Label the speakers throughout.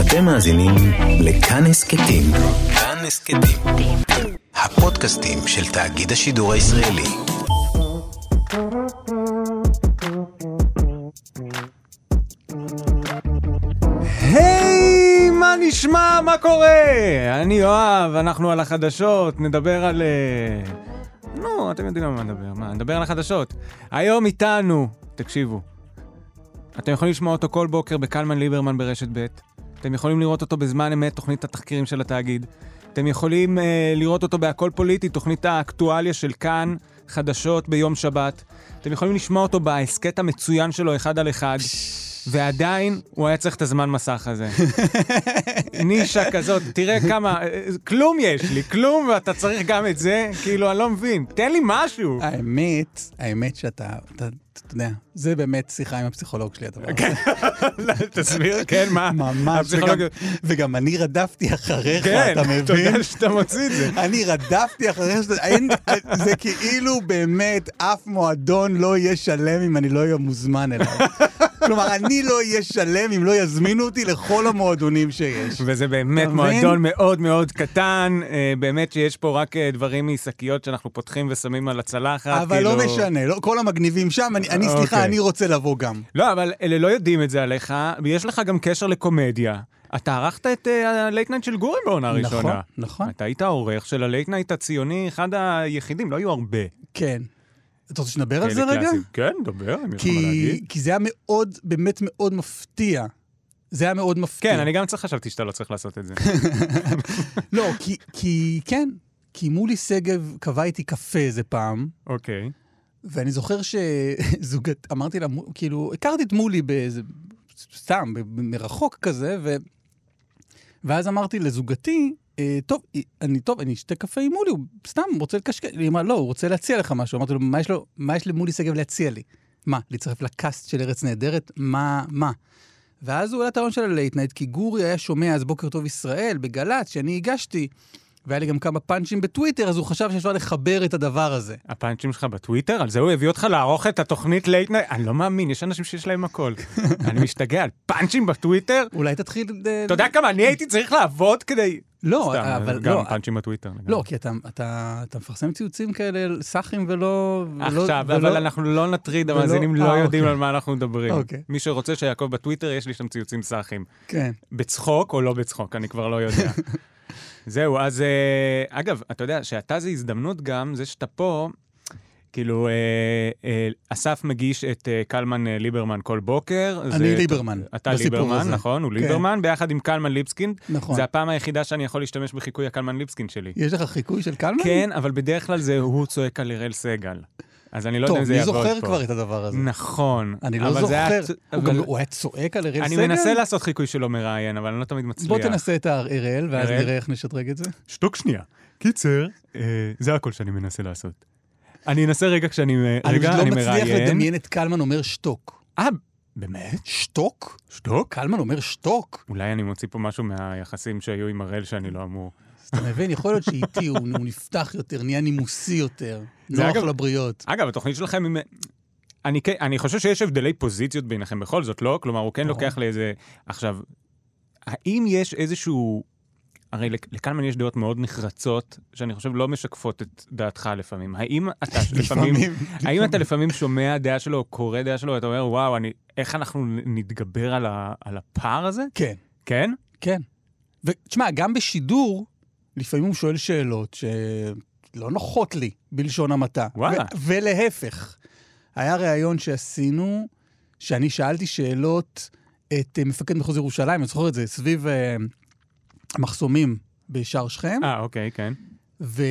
Speaker 1: אתם מאזינים לכאן הסכתים. כאן הסכתים. הפודקאסטים של תאגיד השידור הישראלי.
Speaker 2: היי, מה נשמע? מה קורה? אני יואב, אנחנו על החדשות, נדבר על... אה, נו, אתם יודעים על מה נדבר, מה? נדבר על החדשות. היום איתנו, תקשיבו, אתם יכולים לשמוע אותו כל בוקר בקלמן ליברמן ברשת ב', אתם יכולים לראות אותו בזמן אמת, תוכנית התחקירים של התאגיד, אתם יכולים אה, לראות אותו בהכל פוליטי, תוכנית האקטואליה של כאן, חדשות ביום שבת, אתם יכולים לשמוע אותו בהסכת המצוין שלו אחד על אחד. ועדיין הוא היה צריך את הזמן מסך הזה. נישה כזאת, תראה כמה, אה, כלום יש לי, כלום, ואתה צריך גם את זה? כאילו, אני לא מבין, תן לי משהו.
Speaker 3: האמת, האמת שאתה, אתה, אתה יודע, זה באמת שיחה עם הפסיכולוג שלי הדבר
Speaker 2: כן,
Speaker 3: הזה.
Speaker 2: תסביר, כן, מה?
Speaker 3: ממש,
Speaker 2: הפסיכולוגיה-
Speaker 3: וגם- וגם אני רדפתי אחריך,
Speaker 2: כן,
Speaker 3: אתה
Speaker 2: אתה יודע
Speaker 3: מבין?
Speaker 2: שאתה מוציא את זה.
Speaker 3: אני רדפתי אחריך, שאתה- אין- זה כאילו באמת, אף מועדון לא יהיה שלם אם אני לא אהיה מוזמן אליו. כלומר, אני לא אהיה שלם אם לא יזמינו אותי לכל המועדונים שיש.
Speaker 2: וזה באמת
Speaker 3: אתה מבין?
Speaker 2: מועדון מאוד מאוד קטן, אה, באמת שיש פה רק אה, דברים משקיות שאנחנו פותחים ושמים על הצלחת,
Speaker 3: אבל לא
Speaker 2: כאילו-
Speaker 3: משנה, לא- כל המגניבים שם, אני- אני, סליחה,
Speaker 2: אוקיי.
Speaker 3: אני רוצה לבוא גם.
Speaker 2: לא, אבל אלה לא יודעים את זה עליך, ויש לך גם קשר לקומדיה. אתה ערכת את הלייט נייט של גורי בעונה
Speaker 3: נכון,
Speaker 2: הראשונה.
Speaker 3: נכון.
Speaker 2: אתה היית העורך של הלייט נייט הציוני, אחד היחידים, לא היו הרבה.
Speaker 3: כן. אתה רוצה שנדבר על
Speaker 2: כאלה
Speaker 3: זה רגע?
Speaker 2: קלאסים. כן, דבר, אני יכול
Speaker 3: כי,
Speaker 2: להגיד.
Speaker 3: כי זה היה מאוד, באמת מאוד מפתיע. זה היה מאוד מפתיע.
Speaker 2: כן, אני גם צריך- חשבתי שאתה לא צריך לעשות את זה.
Speaker 3: לא, כי, כי כן, כי מולי שגב קבע איתי קפה איזה פעם,
Speaker 2: אוקיי.
Speaker 3: ואני זוכר שזוגת, אמרתי לה, מו- כאילו, הכרתי את מולי באיזה, סתם, ב- ב- מרחוק כזה, ו... ואז אמרתי לזוגתי, אה, טוב, אה, אני טוב, אני אשתה קפה עם מולי, הוא סתם רוצה לקשקש. היא אמרה, לא, הוא רוצה להציע לך משהו. אמרתי לו, מה יש, לו, מה יש למולי שגב להציע לי? מה, להצטרף לקאסט של ארץ נהדרת? מה, מה? ואז הוא העלה את הרעיון של הלייט נייט, כי גורי היה שומע אז בוקר טוב ישראל בגל"צ, שאני הגשתי, והיה לי גם כמה פאנצ'ים בטוויטר, אז הוא חשב שאפשר לחבר את הדבר הזה.
Speaker 2: הפאנצ'ים שלך בטוויטר, על זה הוא הביא אותך לערוך את התוכנית לייט נייט? אני לא מאמין, יש אנשים שיש להם הכל. אני משתגע על פאנצ'ים בטוויטר?
Speaker 3: אולי תתחיל... אה,
Speaker 2: אתה יודע כמה אני הייתי צריך לעבוד כדי...
Speaker 3: לא,
Speaker 2: סתם,
Speaker 3: אבל
Speaker 2: גם
Speaker 3: לא.
Speaker 2: פאנצ'ים בטוויטר. לגמרי.
Speaker 3: לא, כי אתה, אתה, אתה מפרסם ציוצים כאלה, סאחים ולא... ולא-
Speaker 2: עכשיו,
Speaker 3: ולא-
Speaker 2: אבל אנחנו לא נטריד,
Speaker 3: ולא-
Speaker 2: המאזינים לא
Speaker 3: אה,
Speaker 2: יודעים
Speaker 3: אוקיי.
Speaker 2: על מה אנחנו מדברים.
Speaker 3: אוקיי.
Speaker 2: מי שרוצה שיעקוב בטוויטר, יש לי שם ציוצים סאחים.
Speaker 3: כן.
Speaker 2: בצחוק או לא בצחוק, אני כבר לא יודע. זהו, אז אה, אגב, אתה יודע שאתה זה הזדמנות גם, זה שאתה פה, כאילו, אה, אה, אסף מגיש את אה, קלמן אה, ליברמן כל בוקר.
Speaker 3: אני
Speaker 2: זה-
Speaker 3: ליברמן,
Speaker 2: אתה
Speaker 3: בסיפור
Speaker 2: ליברמן,
Speaker 3: הזה.
Speaker 2: נכון, הוא
Speaker 3: כן.
Speaker 2: ליברמן, ביחד עם קלמן ליבסקינד.
Speaker 3: נכון.
Speaker 2: זה הפעם היחידה שאני יכול להשתמש בחיקוי הקלמן ליבסקינד שלי.
Speaker 3: יש לך חיקוי של קלמן?
Speaker 2: כן, אבל בדרך כלל זה הוא צועק על אראל סגל. אז אני לא
Speaker 3: טוב,
Speaker 2: יודע אם זה
Speaker 3: מי
Speaker 2: יעבוד פה.
Speaker 3: זוכר כבר את הדבר הזה?
Speaker 2: נכון.
Speaker 3: אני לא
Speaker 2: אבל זה היה
Speaker 3: זוכר.
Speaker 2: צ-
Speaker 3: הוא
Speaker 2: אבל-
Speaker 3: גם- לא, הוא היה צועק על אראל
Speaker 2: אני
Speaker 3: סגל?
Speaker 2: מנסה לעשות חיקוי שלא מראיין, אבל אני לא תמיד מצליח.
Speaker 3: בוא תנסה את האראל, ואז
Speaker 2: אראל?
Speaker 3: נראה איך נשדרג את זה.
Speaker 2: שתוק שנייה. קיצר, אה, זה הכל שאני מנסה לעשות. אני אנסה רגע כשאני אה,
Speaker 3: אני
Speaker 2: רגע,
Speaker 3: פשוט
Speaker 2: אני
Speaker 3: לא מצליח
Speaker 2: מראיין.
Speaker 3: לדמיין את קלמן אומר שתוק.
Speaker 2: אה, באמת?
Speaker 3: שתוק?
Speaker 2: שתוק?
Speaker 3: קלמן אומר שתוק.
Speaker 2: אולי אני מוציא פה משהו מהיחסים שהיו עם הראל שאני לא אמור.
Speaker 3: אז אתה מבין, יכול להיות שאיתי הוא הוא נפתח יותר, נהיה נימוסי יותר,
Speaker 2: זה
Speaker 3: נוח
Speaker 2: אגב-
Speaker 3: לבריות.
Speaker 2: אגב, התוכנית שלכם היא... מ- אני, כן- אני חושב שיש הבדלי פוזיציות ביניכם בכל זאת, לא? כלומר, הוא כן
Speaker 3: ברור.
Speaker 2: לוקח לאיזה... עכשיו, האם יש איזשהו... הרי לק- לקלמן יש דעות מאוד נחרצות, שאני חושב לא משקפות את דעתך לפעמים. האם אתה אה, לפעמים... האם אתה לפעמים שומע דעה שלו, או קורא דעה שלו, ואתה אומר, וואו, אני, איך אנחנו נתגבר על, ה, על הפער הזה?
Speaker 3: כן.
Speaker 2: כן?
Speaker 3: כן. ותשמע, גם בשידור, לפעמים הוא שואל שאלות שלא נוחות לי, בלשון המעטה.
Speaker 2: וואלה.
Speaker 3: ו- ולהפך. היה ראיון שעשינו, שאני שאלתי שאלות את אה, מפקד מחוז ירושלים, אני זוכר את זה, סביב אה, המחסומים בשער שכם,
Speaker 2: אה, אוקיי, כן.
Speaker 3: ו...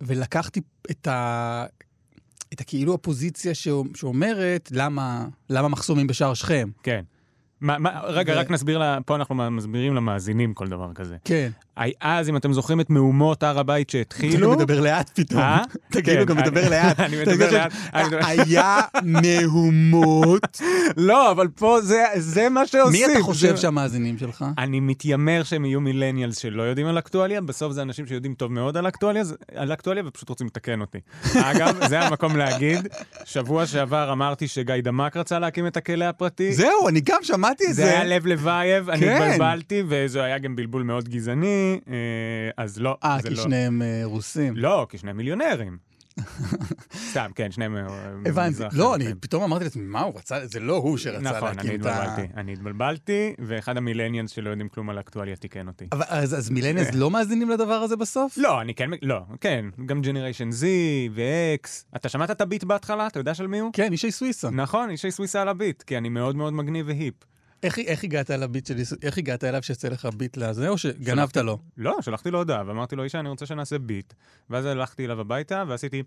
Speaker 3: ולקחתי את ה... את הכאילו הפוזיציה שאומ- שאומרת למה, למה מחסומים בשער שכם.
Speaker 2: כן. מה, מה, רגע,
Speaker 3: ו-
Speaker 2: רק נסביר, לה, פה אנחנו מסבירים למאזינים כל דבר כזה.
Speaker 3: כן.
Speaker 2: היי, אז אם אתם זוכרים את מהומות הר הבית שהתחילו...
Speaker 3: אתה גם מדבר לאט פתאום.
Speaker 2: כאילו- אה?
Speaker 3: אתה
Speaker 2: כן,
Speaker 3: כאילו גם
Speaker 2: אני-
Speaker 3: מדבר לאט.
Speaker 2: אני
Speaker 3: אתה
Speaker 2: מדבר
Speaker 3: יודע
Speaker 2: לאט,
Speaker 3: ש-
Speaker 2: אני מדבר-
Speaker 3: היה מהומות.
Speaker 2: לא, אבל פה זה, זה מה שעושים.
Speaker 3: מי אתה חושב
Speaker 2: זה-
Speaker 3: שהמאזינים שלך?
Speaker 2: אני מתיימר שהם יהיו מילניאלס שלא יודעים על אקטואליה, בסוף זה אנשים שיודעים טוב מאוד על אקטואליה, זה- על אקטואליה ופשוט רוצים לתקן אותי. אגב, זה המקום להגיד, שבוע שעבר אמרתי שגיא דמק רצה להקים את הכלא הפרטי.
Speaker 3: זהו, אני גם ידעתי את
Speaker 2: זה
Speaker 3: זה.
Speaker 2: היה לב לבייב, אני
Speaker 3: כן.
Speaker 2: התבלבלתי, וזה היה גם בלבול מאוד גזעני, אה, אז לא.
Speaker 3: אה,
Speaker 2: זה
Speaker 3: כי
Speaker 2: לא.
Speaker 3: שניהם אה, רוסים.
Speaker 2: לא, כי שניהם מיליונרים. סתם, כן, שניהם... אה,
Speaker 3: הבנתי.
Speaker 2: מזרח
Speaker 3: לא,
Speaker 2: אירופאים.
Speaker 3: אני פתאום אמרתי לעצמי, מה הוא רצה? זה לא הוא שרצה
Speaker 2: כן. נכון, אני
Speaker 3: להקים את ה...
Speaker 2: התבלבלתי. אני התבלבלתי, ואחד המילניאנס שלא יודעים כלום על האקטואליה תיקן אותי.
Speaker 3: אבל אז, אז מילניאלס לא מאזינים לדבר הזה בסוף?
Speaker 2: כן. לא, אני כן, לא, כן, גם ג'נריישן Z ו-X. אתה שמעת את הביט בהתחלה? אתה יודע של מי הוא?
Speaker 3: כן, ישי סוויסה.
Speaker 2: נכון, אישי סוויסה על הביט, כי אני מאוד מאוד מגניב והיפ.
Speaker 3: איך, איך הגעת לביט שלי? איך הגעת אליו שיצא לך ביט לזה, או שגנבת לו?
Speaker 2: לא, שלחתי לו הודעה, ואמרתי לו, אישה, אני רוצה שנעשה ביט. ואז הלכתי אליו הביתה, ועשיתי...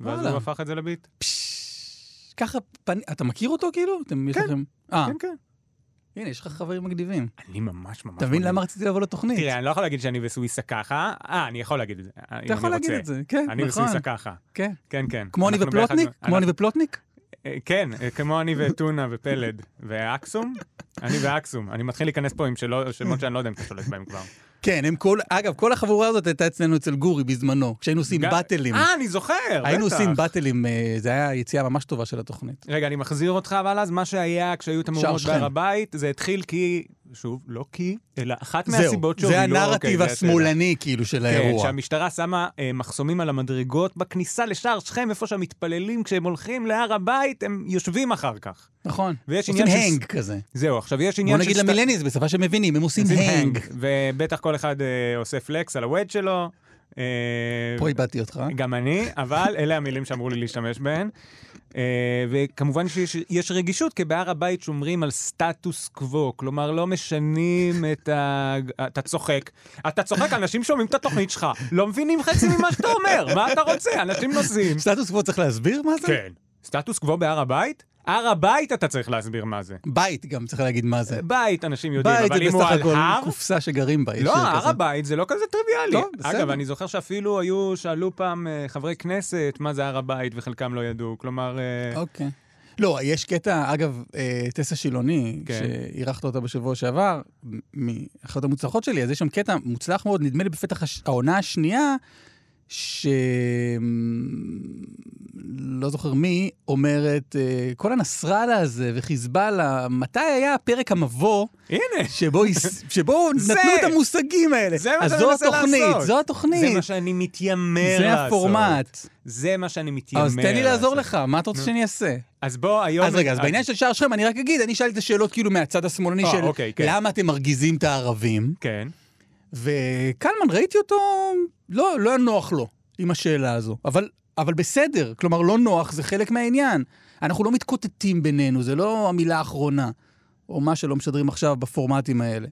Speaker 2: ואז
Speaker 3: וואלה.
Speaker 2: הוא הפך את זה לביט.
Speaker 3: פשש, ככה פני... אתה מכיר אותו כאילו? אתם, יש
Speaker 2: כן.
Speaker 3: לכם... אה,
Speaker 2: כן, כן.
Speaker 3: הנה, יש לך חברים מגניבים.
Speaker 2: אני ממש ממש...
Speaker 3: אתה מבין
Speaker 2: מגניב.
Speaker 3: למה רציתי לבוא לתוכנית?
Speaker 2: תראה, אני לא יכול להגיד שאני וסוויסה ככה. אה, אני יכול להגיד את זה.
Speaker 3: אתה יכול להגיד את זה, כן,
Speaker 2: אני
Speaker 3: נכון.
Speaker 2: וסוויסה ככה.
Speaker 3: כן.
Speaker 2: כן, כן.
Speaker 3: כמו אני
Speaker 2: אנחנו ביחד-
Speaker 3: ופלוטניק? כמו אני ופלוטניק?
Speaker 2: אה, כן, אה, כמו אני וטונה ופלד ואקסום. אני ואקסום. אני מתחיל להיכנס פה עם שלא- שמות שאני לא יודע אם אתה שולט בהם כבר.
Speaker 3: כן, הם כל... אגב, כל החבורה הזאת הייתה אצלנו אצל גורי בזמנו, כשהיינו עושים
Speaker 2: גם-
Speaker 3: באטלים.
Speaker 2: אה, אני זוכר,
Speaker 3: היינו
Speaker 2: בטח.
Speaker 3: עושים באטלים, אה, זה היה יציאה ממש טובה של התוכנית.
Speaker 2: רגע, אני מחזיר אותך, אבל אז מה שהיה כשהיו את המהומות
Speaker 3: שכם.
Speaker 2: בהר הבית, זה התחיל כי, שוב, לא כי, אלא אחת
Speaker 3: זהו,
Speaker 2: מהסיבות
Speaker 3: זה
Speaker 2: שהובילו... אוקיי,
Speaker 3: הנרטיב
Speaker 2: זה השאלה.
Speaker 3: השמאלני כאילו של
Speaker 2: כן,
Speaker 3: האירוע.
Speaker 2: שהמשטרה שמה אה, מחסומים על המדרגות בכניסה לשער שכם, איפה שהמתפללים, כשהם הולכים להר הבית, הם יושבים אחר כך.
Speaker 3: נכון.
Speaker 2: ויש
Speaker 3: עושים
Speaker 2: עניין של-
Speaker 3: הנג כזה.
Speaker 2: זהו, עכשיו יש
Speaker 3: בוא
Speaker 2: עניין
Speaker 3: נגיד
Speaker 2: סט-
Speaker 3: למילניז, בשפה שמבינים, הם עושים
Speaker 2: עושים
Speaker 3: הנג.
Speaker 2: ובטח כל אחד אה, עושה פלקס על הווד שלו. אה,
Speaker 3: פה איבדתי אותך.
Speaker 2: גם אני, אבל אלה המילים שאמרו לי להשתמש בהן. אה, וכמובן שיש יש רגישות, כי בהר הבית שומרים על סטטוס קוו, כלומר לא משנים את ה... אתה צוחק, אתה צוחק, אנשים שומעים את התוכנית שלך, לא מבינים חצי ממה שאתה אומר, מה אתה רוצה? אנשים נוסעים.
Speaker 3: סטטוס קוו צריך להסביר מה זה?
Speaker 2: כן. סטטוס קוו בהר הבית? הר הבית אתה צריך להסביר מה זה.
Speaker 3: בית גם צריך להגיד מה זה.
Speaker 2: בית, אנשים יודעים,
Speaker 3: בית
Speaker 2: אבל
Speaker 3: זה
Speaker 2: אם הוא
Speaker 3: בסך
Speaker 2: על
Speaker 3: הכל
Speaker 2: הר...
Speaker 3: קופסה שגרים בה. יש
Speaker 2: לא,
Speaker 3: שיר
Speaker 2: הר
Speaker 3: אה, כזה.
Speaker 2: הבית זה לא כזה טריוויאלי.
Speaker 3: טוב, בסדר.
Speaker 2: אגב, אני זוכר שאפילו היו, שאלו פעם אה, חברי כנסת מה זה הר הבית, וחלקם לא ידעו. כלומר, אה,
Speaker 3: אוקיי. לא, יש קטע, אגב, אה, טסה שילוני,
Speaker 2: כן.
Speaker 3: שאירחת אותה בשבוע שעבר, מ- מאחת המוצלחות שלי, אז יש שם קטע מוצלח מאוד, נדמה לי בפתח הש- העונה השנייה, ש... לא זוכר מי, אומרת, אה, כל הנסראללה הזה וחיזבאללה, מתי היה הפרק המבוא
Speaker 2: הנה,
Speaker 3: שבו, הס- שבו
Speaker 2: זה-
Speaker 3: נתנו את המושגים האלה?
Speaker 2: זה מה
Speaker 3: אז
Speaker 2: שאני
Speaker 3: זו
Speaker 2: מנסה
Speaker 3: התוכנית,
Speaker 2: לעשות.
Speaker 3: זו
Speaker 2: זה מה
Speaker 3: התוכנית,
Speaker 2: שאני מתיימר לעשות.
Speaker 3: זה הפורמט.
Speaker 2: זה מה שאני מתיימר
Speaker 3: אז תן לי לעזור
Speaker 2: לעשות.
Speaker 3: לך, מה אתה רוצה
Speaker 2: נו.
Speaker 3: שאני אעשה?
Speaker 2: אז בוא, היום...
Speaker 3: אז רגע, אז בעניין של שער שכם, אני רק אגיד, אני שאלתי את השאלות כאילו מהצד השמאלני
Speaker 2: אה,
Speaker 3: של
Speaker 2: אוקיי, כן.
Speaker 3: למה אתם מרגיזים את הערבים,
Speaker 2: כן.
Speaker 3: וקלמן, ראיתי אותו, לא לא היה נוח לו עם השאלה הזו, אבל... אבל בסדר, כלומר לא נוח, זה חלק מהעניין. אנחנו לא מתקוטטים בינינו, זה לא המילה האחרונה, או מה שלא משדרים עכשיו בפורמטים האלה.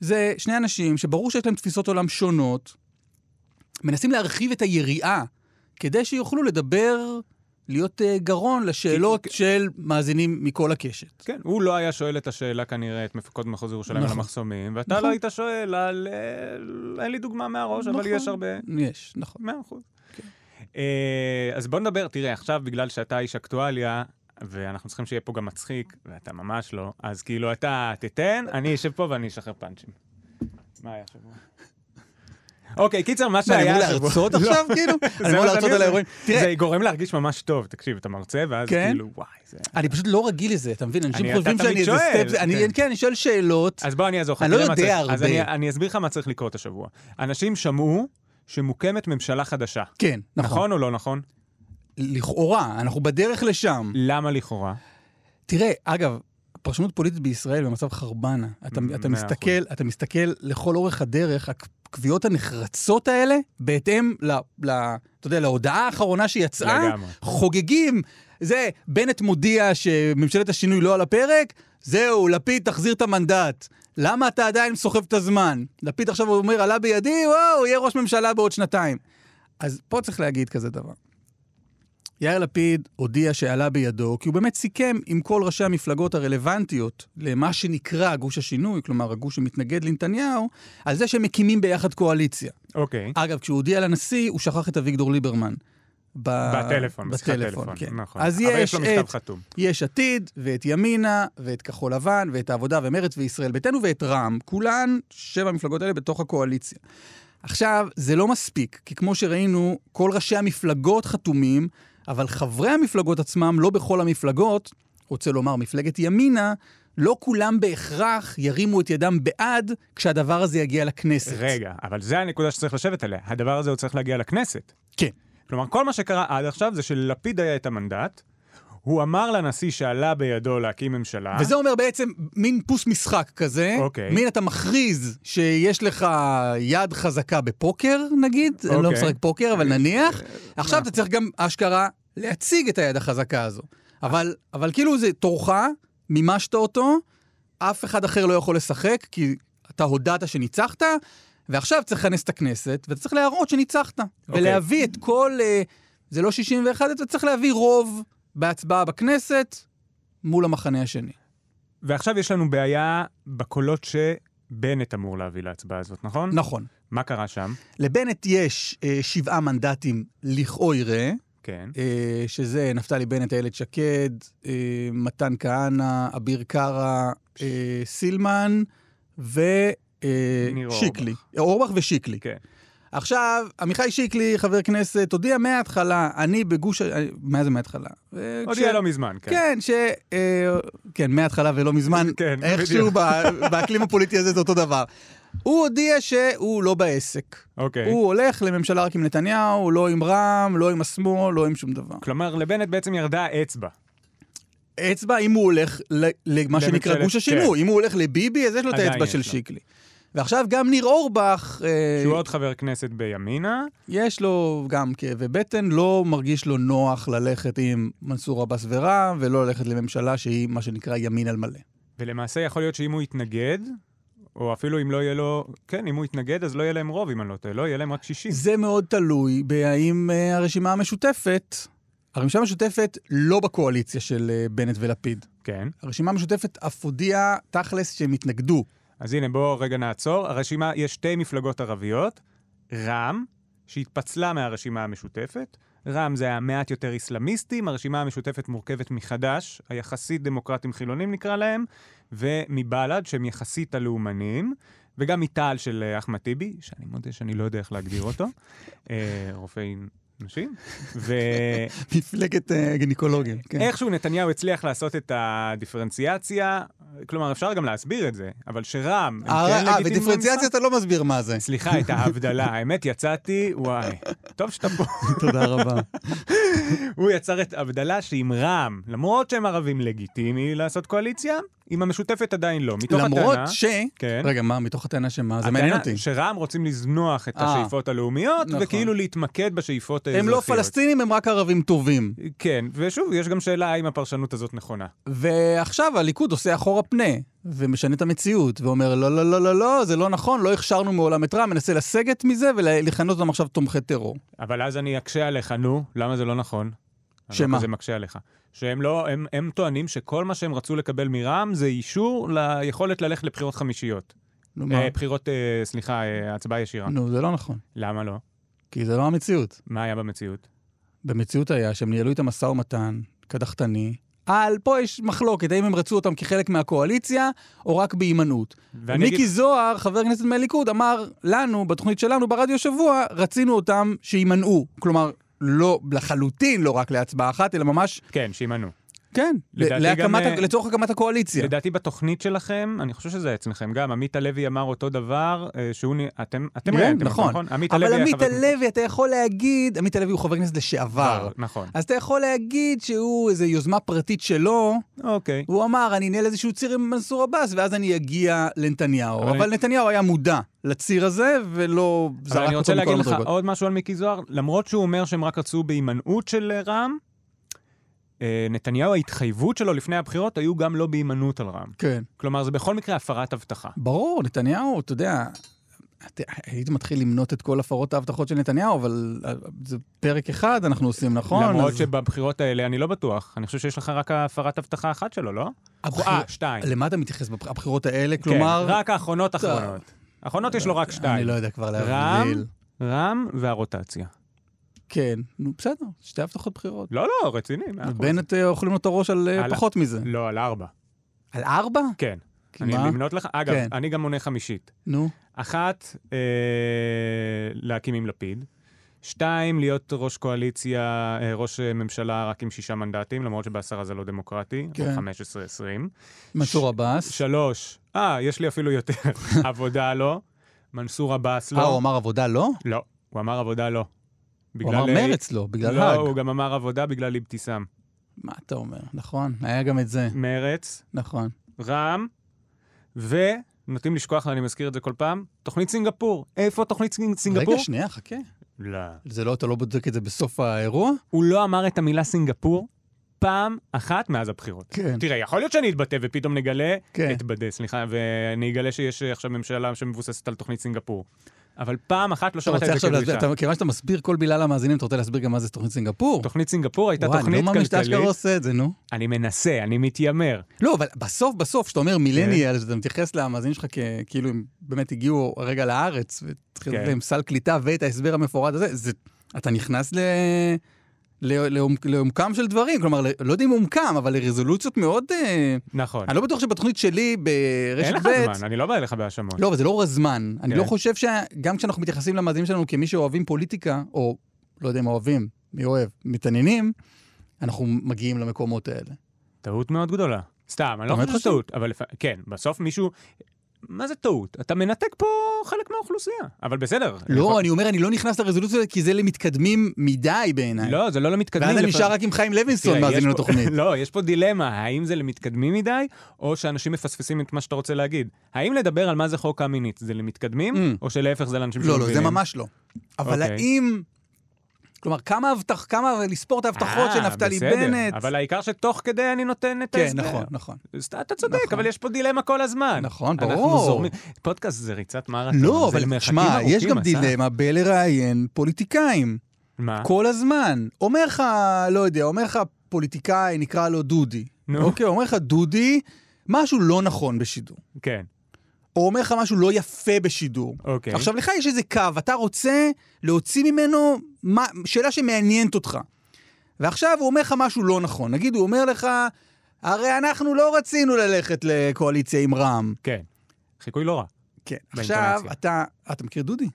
Speaker 3: זה שני אנשים שברור שיש להם תפיסות עולם שונות, מנסים להרחיב את היריעה, כדי שיוכלו לדבר, להיות אה, גרון לשאלות של מאזינים מכל הקשת.
Speaker 2: כן, הוא לא היה שואל את השאלה כנראה, את מפקוד מחוז ירושלים על
Speaker 3: נכון.
Speaker 2: המחסומים, ואתה
Speaker 3: נכון.
Speaker 2: לא היית שואל על... אה, אין לי דוגמה מהראש, אבל
Speaker 3: נכון.
Speaker 2: יש הרבה...
Speaker 3: יש, נכון.
Speaker 2: מאה אחוז. אה, אז בוא נדבר, תראה, עכשיו בגלל שאתה איש אקטואליה, ואנחנו צריכים שיהיה פה גם מצחיק, ואתה ממש לא, אז כאילו אתה תיתן, אני אשב פה ואני אשחרר פאנצ'ים. מה היה השבוע? אוקיי, קיצר, מה
Speaker 3: מה, אני
Speaker 2: שהיה
Speaker 3: אמור
Speaker 2: השבוע-
Speaker 3: להרצות
Speaker 2: לא,
Speaker 3: עכשיו, כאילו? אני
Speaker 2: זה
Speaker 3: אמור
Speaker 2: מה
Speaker 3: להרצות
Speaker 2: שאני
Speaker 3: על
Speaker 2: עושה.
Speaker 3: האירועים? תראה,
Speaker 2: זה גורם להרגיש ממש טוב, תקשיב, אתה מרצה, ואז
Speaker 3: כן?
Speaker 2: כאילו, וואי, זה...
Speaker 3: אני פשוט לא רגיל לזה, אתה מבין? אנשים
Speaker 2: אני- אתה
Speaker 3: חושבים
Speaker 2: תמיד
Speaker 3: שאני איזה
Speaker 2: שואל,
Speaker 3: סטפ... אני-
Speaker 2: כן.
Speaker 3: כן, אני שואל שאלות.
Speaker 2: אז בוא אני אעזור לך.
Speaker 3: אני לא
Speaker 2: תראה מה
Speaker 3: יודע
Speaker 2: צריך. אז
Speaker 3: הרבה.
Speaker 2: אני- אני אסביר לך מה צריך לקרות השבוע. אנשים שמעו שמוקמת ממשלה חדשה.
Speaker 3: כן, נכון.
Speaker 2: נכון או לא נכון?
Speaker 3: לכאורה, אנחנו בדרך לשם.
Speaker 2: למה לכאורה?
Speaker 3: תראה, אגב, פרשנות פוליטית בישראל במצב חרבנה. אתה,
Speaker 2: מאה
Speaker 3: אתה,
Speaker 2: אחוז.
Speaker 3: מסתכל, אתה מסתכל לכל אורך הדרך, הקביעות הנחרצות האלה, בהתאם ל... ל אתה יודע, להודעה האחרונה שיצאה,
Speaker 2: לגמרי.
Speaker 3: חוגגים. זה, בנט מודיע שממשלת השינוי לא על הפרק, זהו, לפיד, תחזיר את המנדט. למה אתה עדיין סוחב את הזמן? לפיד עכשיו אומר, עלה בידי, וואו, יהיה ראש ממשלה בעוד שנתיים. אז פה צריך להגיד כזה דבר. יאיר לפיד הודיע שעלה בידו, כי הוא באמת סיכם עם כל ראשי המפלגות הרלוונטיות למה שנקרא גוש השינוי, כלומר הגוש שמתנגד לנתניהו, על זה שהם מקימים ביחד קואליציה.
Speaker 2: אוקיי.
Speaker 3: אגב, כשהוא הודיע לנשיא, הוא שכח את אביגדור ליברמן. ב...
Speaker 2: בטלפון, בשיחת טלפון,
Speaker 3: אה, כן.
Speaker 2: נכון.
Speaker 3: אז
Speaker 2: אבל
Speaker 3: יש
Speaker 2: יש לו מכתב
Speaker 3: את
Speaker 2: חתום.
Speaker 3: יש עתיד, ואת ימינה, ואת כחול לבן, ואת העבודה ומרצ וישראל ביתנו, ואת רע"מ. כולן, שבע המפלגות האלה בתוך הקואליציה. עכשיו, זה לא מספיק, כי כמו שראינו, כל ראשי המפלגות חתומים אבל חברי המפלגות עצמם, לא בכל המפלגות, רוצה לומר מפלגת ימינה, לא כולם בהכרח ירימו את ידם בעד כשהדבר הזה יגיע לכנסת.
Speaker 2: רגע, אבל זה הנקודה שצריך לשבת עליה. הדבר הזה עוד צריך להגיע לכנסת.
Speaker 3: כן.
Speaker 2: כלומר, כל מה שקרה עד עכשיו זה שללפיד היה את המנדט, הוא אמר לנשיא שעלה בידו להקים ממשלה.
Speaker 3: וזה אומר בעצם מין פוס משחק כזה.
Speaker 2: אוקיי.
Speaker 3: מין אתה מכריז שיש לך יד חזקה בפוקר, נגיד. אני לא
Speaker 2: אוקיי. אה,
Speaker 3: משחק פוקר, אבל נניח. עכשיו אתה צריך גם, אשכרה, להציג את היד החזקה הזו. אבל, אבל כאילו זה תורך, מימשת אותו, אף אחד אחר לא יכול לשחק, כי אתה הודעת שניצחת, ועכשיו צריך לכנס את הכנסת, ואתה צריך להראות שניצחת.
Speaker 2: אוקיי.
Speaker 3: ולהביא את כל... אה, זה לא 61, אתה צריך להביא רוב בהצבעה בכנסת מול המחנה השני.
Speaker 2: ועכשיו יש לנו בעיה בקולות שבנט אמור להביא להצבעה הזאת, נכון?
Speaker 3: נכון.
Speaker 2: מה קרה שם?
Speaker 3: לבנט יש אה, שבעה מנדטים לכאורה,
Speaker 2: כן.
Speaker 3: אה, שזה נפתלי בנט, איילת שקד, אה, מתן כהנא, אביר קארה, אה, סילמן
Speaker 2: ניר
Speaker 3: ושיקלי. אורבך ושיקלי.
Speaker 2: כן.
Speaker 3: עכשיו, עמיחי שיקלי, חבר כנסת, הודיע מההתחלה, אני בגוש... ה- אה, מה זה מההתחלה? אה,
Speaker 2: הודיע
Speaker 3: כש-
Speaker 2: לא מזמן, כן.
Speaker 3: כן, ש... אה, כן, מההתחלה ולא מזמן,
Speaker 2: כן,
Speaker 3: איכשהו
Speaker 2: בדיוק.
Speaker 3: ב- באקלים הפוליטי הזה זה אותו דבר. הוא הודיע שהוא לא בעסק.
Speaker 2: אוקיי.
Speaker 3: הוא הולך לממשלה רק עם נתניהו, לא עם רע"מ, לא עם השמאל, לא עם שום דבר.
Speaker 2: כלומר, לבנט בעצם ירדה האצבע.
Speaker 3: אצבע, אם הוא הולך ל- למה שנקרא
Speaker 2: לממשלת- כן.
Speaker 3: גוש השינוי, אם הוא הולך לביבי, אז יש לו את
Speaker 2: עדיין
Speaker 3: האצבע
Speaker 2: יש
Speaker 3: של
Speaker 2: לו.
Speaker 3: שיקלי. ועכשיו גם ניר אורבך, אה,
Speaker 2: שהוא עוד חבר כנסת בימינה,
Speaker 3: יש לו גם כאבי בטן, לא מרגיש לו נוח ללכת עם מנסור עבאס ורע"מ, ולא ללכת לממשלה שהיא מה שנקרא ימין על מלא.
Speaker 2: ולמעשה יכול להיות שאם הוא יתנגד, או אפילו אם לא יהיה לו... כן, אם הוא יתנגד, אז לא יהיה להם רוב, אם אני לא טועה. לא, יהיה להם רק 60.
Speaker 3: זה מאוד תלוי בהאם אה, הרשימה המשותפת, הרשימה המשותפת לא בקואליציה של אה, בנט ולפיד.
Speaker 2: כן.
Speaker 3: הרשימה המשותפת אף הודיעה תכלס שהם התנגדו.
Speaker 2: אז הנה, בואו רגע נעצור. הרשימה, יש שתי מפלגות ערביות, רע"מ, שהתפצלה מהרשימה המשותפת. רע"מ זה המעט יותר אסלאמיסטים, הרשימה המשותפת מורכבת מחד"ש, היחסית דמוקרטים חילונים נקרא להם, ומבל"ד, שהם יחסית הלאומנים, וגם מתע"ל של אה, אחמד טיבי, שאני מודה שאני לא יודע איך להגדיר אותו, אה, רופא נשים, ו...
Speaker 3: מפלגת אה, גניקולוגים, כן.
Speaker 2: איכשהו נתניהו הצליח לעשות את הדיפרנציאציה, כלומר, אפשר גם להסביר את זה, אבל שרע"מ, הם
Speaker 3: אה,
Speaker 2: כן
Speaker 3: אה,
Speaker 2: לגיטימיים
Speaker 3: בדיפרנציאציה
Speaker 2: במשחק?
Speaker 3: אתה לא מסביר מה זה.
Speaker 2: סליחה, את ההבדלה. האמת, יצאתי, וואי, טוב שאתה פה.
Speaker 3: תודה רבה.
Speaker 2: הוא יצר את הבדלה שעם רע"מ, למרות שהם ערבים לגיטימי לעשות קואליציה, עם המשותפת עדיין לא. מתוך הטענה...
Speaker 3: למרות ש...
Speaker 2: כן.
Speaker 3: רגע, מה, מתוך הטענה שמה? זה מעניין אותי.
Speaker 2: הטענה שרע"מ רוצים לזנוח את
Speaker 3: אה.
Speaker 2: השאיפות הלאומיות,
Speaker 3: נכון.
Speaker 2: וכאילו להתמקד בשאיפות
Speaker 3: הם
Speaker 2: האזרחיות.
Speaker 3: לא פלסטינים, הם רק ערבים טובים.
Speaker 2: כן, ושוב, יש גם שאלה האם הפרשנות הזאת נכונה.
Speaker 3: ועכשיו הליכוד עושה אחורה פנה, ומשנה את המציאות, ואומר, לא, לא, לא, לא, לא, זה לא נכון, לא הכשרנו מעולם את רע, מנסה לסגת מזה ולכנות אותם עכשיו תומכי טרור.
Speaker 2: אבל אז אני אקשה עליך, נו, למה זה לא נכון?
Speaker 3: שמה?
Speaker 2: למה זה מקשה עליך. שהם לא, הם, הם טוענים שכל מה שהם רצו לקבל מרע"מ זה אישור ליכולת ללכת לבחירות חמישיות.
Speaker 3: נו, מה?
Speaker 2: אה, בחירות, אה, סליחה, אה, הצבעה ישירה.
Speaker 3: נו, זה לא נכון,
Speaker 2: למה לא?
Speaker 3: כי זה לא המציאות.
Speaker 2: מה היה במציאות?
Speaker 3: במציאות היה שהם ניהלו את המשא ומתן, קדחתני, על, פה יש מחלוקת, האם הם רצו אותם כחלק מהקואליציה, או רק בהימנעות.
Speaker 2: ואני
Speaker 3: מיקי
Speaker 2: אגיד-
Speaker 3: זוהר, חבר כנסת מהליכוד, אמר לנו, בתוכנית שלנו, ברדיו שבוע, רצינו אותם שיימנעו. כלומר, לא, לחלוטין לא רק להצבעה אחת, אלא ממש
Speaker 2: כן, שימנו.
Speaker 3: כן,
Speaker 2: לדעתי גם,
Speaker 3: להקמת,
Speaker 2: אה,
Speaker 3: ה- לצורך הקמת הקואליציה.
Speaker 2: לדעתי בתוכנית שלכם, אני חושב שזה היה אצלכם גם, עמית הלוי אמר אותו דבר, אה, שהוא, נ- אתם, אתם
Speaker 3: כן,
Speaker 2: ראיתם,
Speaker 3: נכון.
Speaker 2: נכון? עמית
Speaker 3: אבל
Speaker 2: הלוי היה
Speaker 3: עמית
Speaker 2: חבר כנסת.
Speaker 3: הלוי, אתה יכול להגיד, עמית הלוי הוא חבר כנסת לשעבר.
Speaker 2: נכון.
Speaker 3: אז אתה יכול להגיד שהוא איזו יוזמה פרטית שלו,
Speaker 2: אוקיי.
Speaker 3: אה, הוא אמר, אני אנהל איזשהו ציר עם מנסור עבאס, ואז אני אגיע לנתניהו.
Speaker 2: אבל
Speaker 3: אבל נתניהו היה מודע לציר הזה, ולא זרק
Speaker 2: אבל אני
Speaker 3: אותו
Speaker 2: רוצה
Speaker 3: מכל
Speaker 2: להגיד לך
Speaker 3: המדרגות.
Speaker 2: עוד משהו על מיקי זוהר, למרות שהוא אומר שהם רק רצו בהימנעות של אה, רע"מ, אה, נתניהו, ההתחייבות שלו לפני הבחירות היו גם לא בהימנעות על רע"מ.
Speaker 3: כן.
Speaker 2: כלומר, זה בכל מקרה הפרת הבטחה.
Speaker 3: ברור, נתניהו, אתה יודע, את- היית מתחיל למנות את כל הפרות ההבטחות של נתניהו, אבל אה, זה פרק אחד אנחנו עושים, נכון?
Speaker 2: למרות
Speaker 3: אז-
Speaker 2: שבבחירות האלה אני לא בטוח, אני חושב שיש לך רק הפרת הבטחה אחת שלו, לא?
Speaker 3: הבחיר-
Speaker 2: אה, שתיים.
Speaker 3: למה אתה מתייחס בבחירות האלה?
Speaker 2: כן,
Speaker 3: כלומר...
Speaker 2: רק האחרונות
Speaker 3: טוב.
Speaker 2: אחרונות. האחרונות יש לו רק
Speaker 3: אני
Speaker 2: שתיים.
Speaker 3: לא יודע כבר
Speaker 2: רע"מ,
Speaker 3: להבדיל.
Speaker 2: רע"מ והרוטציה.
Speaker 3: כן, נו בסדר, שתי הבטחות בחירות.
Speaker 2: לא, לא, רציני. מאה אחוז.
Speaker 3: בנט אה, אוכלים לו את הראש על אה,
Speaker 2: על-
Speaker 3: פחות מזה.
Speaker 2: לא, על ארבע.
Speaker 3: על ארבע?
Speaker 2: כן.
Speaker 3: כי
Speaker 2: אני
Speaker 3: מה?
Speaker 2: למנות לך, אגב,
Speaker 3: כן.
Speaker 2: אני גם מונה חמישית.
Speaker 3: נו.
Speaker 2: אחת, אה, להקים עם לפיד. שתיים, להיות ראש קואליציה, אה, ראש אה, ממשלה רק עם שישה מנדטים, למרות שבעשרה זה לא דמוקרטי, כן.
Speaker 3: כן.
Speaker 2: או 15-20.
Speaker 3: מנסור עבאס.
Speaker 2: שלוש, אה, יש לי אפילו יותר, עבודה לא, מנסור עבאס
Speaker 3: אה, הוא
Speaker 2: לא.
Speaker 3: אמר עבודה לא?
Speaker 2: לא, הוא אמר עבודה לא.
Speaker 3: הוא
Speaker 2: בגלל,
Speaker 3: אמר
Speaker 2: אה,
Speaker 3: מרץ לא, בגלל
Speaker 2: לא,
Speaker 3: האג.
Speaker 2: הוא גם אמר עבודה בגלל אבתיסאם.
Speaker 3: מה אתה אומר? נכון, היה גם את זה.
Speaker 2: מרץ,
Speaker 3: נכון.
Speaker 2: רע"מ, ונוטים לשכוח, ואני מזכיר את זה כל פעם, תוכנית סינגפור. איפה תוכנית סינג- סינגפור?
Speaker 3: רגע, שנייה, חכה.
Speaker 2: לא.
Speaker 3: זה לא, אתה לא בודק את זה בסוף האירוע?
Speaker 2: הוא לא אמר את המילה סינגפור פעם אחת מאז הבחירות.
Speaker 3: כן.
Speaker 2: תראה, יכול להיות שאני אתבטא ופתאום נגלה,
Speaker 3: כן.
Speaker 2: אתבדה, סליחה, ואני אגלה שיש אה, עכשיו ממשלה שמבוססת על תוכנית סינגפור. אבל פעם אחת לא
Speaker 3: אתה
Speaker 2: שמעת
Speaker 3: רוצה
Speaker 2: את זה
Speaker 3: עכשיו להסביר,
Speaker 2: כדרישה.
Speaker 3: אתה- כיוון שאתה מסביר כל מילה למאזינים, אתה רוצה להסביר גם מה זה תוכנית סינגפור?
Speaker 2: תוכנית סינגפור הייתה
Speaker 3: וואי,
Speaker 2: תוכנית
Speaker 3: אני לא מאמין שאתה אשכרה
Speaker 2: כלכלית.
Speaker 3: עושה את זה, נו.
Speaker 2: אני מנסה, אני מתיימר.
Speaker 3: לא, אבל בסוף, בסוף, כשאתה אומר
Speaker 2: כן.
Speaker 3: מילניאל, שאתה מתייחס למאזינים שלך כ- כאילו הם באמת הגיעו הרגע לארץ, והתחיל
Speaker 2: כן.
Speaker 3: להם סל קליטה ואת ההסבר המפורט הזה, זה- אתה נכנס ל... ל- לעומק- לעומקם של דברים, כלומר, ל- לא יודע אם עומקם, אבל לרזולוציות מאוד... אה,
Speaker 2: נכון.
Speaker 3: אני לא בטוח שבתוכנית שלי
Speaker 2: אין
Speaker 3: ברשת
Speaker 2: לך
Speaker 3: ב',
Speaker 2: זמן, אני לא בא אליך בהאשמות.
Speaker 3: לא, אבל זה לא הזמן. אני
Speaker 2: כן.
Speaker 3: לא חושב שגם כשאנחנו מתייחסים למאזינים שלנו כמי שאוהבים פוליטיקה, או לא יודע אם אוהבים, מי אוהב, מתעניינים, אנחנו מגיעים למקומות האלה.
Speaker 2: טעות מאוד גדולה. סתם, אני
Speaker 3: אתה
Speaker 2: לא
Speaker 3: באמת
Speaker 2: חושב
Speaker 3: חושב?
Speaker 2: שטעות, אבל לפ- כן, בסוף מישהו... מה זה טעות? אתה מנתק פה חלק מהאוכלוסייה, אבל בסדר. אני יכול-
Speaker 3: לא, אני אומר, אני לא נכנס לרזולוציות האלה, כי זה למתקדמים מדי בעיניי.
Speaker 2: לא, זה לא למתקדמים.
Speaker 3: ואז אני
Speaker 2: לפ-
Speaker 3: נשאר רק עם חיים לוינסון
Speaker 2: תראה,
Speaker 3: מאזין
Speaker 2: יש פה-
Speaker 3: לתוכנית.
Speaker 2: לא, יש פה דילמה, האם זה למתקדמים מדי, או שאנשים מפספסים את מה שאתה רוצה להגיד. האם לדבר על מה זה חוק המינית, זה למתקדמים,
Speaker 3: Mm.
Speaker 2: או שלהפך זה לאנשים
Speaker 3: לא, לא, זה
Speaker 2: שמבינים?
Speaker 3: ממש לא. אבל
Speaker 2: אוקיי.
Speaker 3: האם... כלומר, כמה הבטח... כמה לספור את ההבטחות של
Speaker 2: אה,
Speaker 3: נפתלי
Speaker 2: בסדר,
Speaker 3: בנט?
Speaker 2: אבל העיקר שתוך כדי אני נותן את
Speaker 3: כן,
Speaker 2: ההסבר.
Speaker 3: נכון, נכון.
Speaker 2: אז אתה- אתה צודק,
Speaker 3: נכון.
Speaker 2: אבל יש פה דילמה כל הזמן.
Speaker 3: נכון,
Speaker 2: אנחנו
Speaker 3: ברור.
Speaker 2: זורמים- פודקאסט זה ריצת מרתון.
Speaker 3: לא,
Speaker 2: זה
Speaker 3: אבל
Speaker 2: מרחקים
Speaker 3: שמע, יש
Speaker 2: ארוכים, אה?
Speaker 3: גם
Speaker 2: אסף.
Speaker 3: דילמה בלראיין פוליטיקאים.
Speaker 2: מה?
Speaker 3: כל הזמן. אומר לך, לא יודע, אומר לך פוליטיקאי, נקרא לו דודי.
Speaker 2: נו.
Speaker 3: אוקיי, אומר לך דודי, משהו לא נכון בשידור.
Speaker 2: כן,
Speaker 3: או אומר לך משהו לא יפה בשידור.
Speaker 2: אוקיי.
Speaker 3: עכשיו, לך יש איזה קו, אתה רוצה להוציא ממנו מה, שאלה שמעניינת אותך. ועכשיו הוא אומר לך משהו לא נכון. נגיד, הוא אומר לך, הרי אנחנו לא רצינו ללכת לקואליציה עם רע"מ.
Speaker 2: כן. חיקוי לא רע.
Speaker 3: כן.
Speaker 2: באינטונציה.
Speaker 3: עכשיו, אתה, אתה מכיר דודי?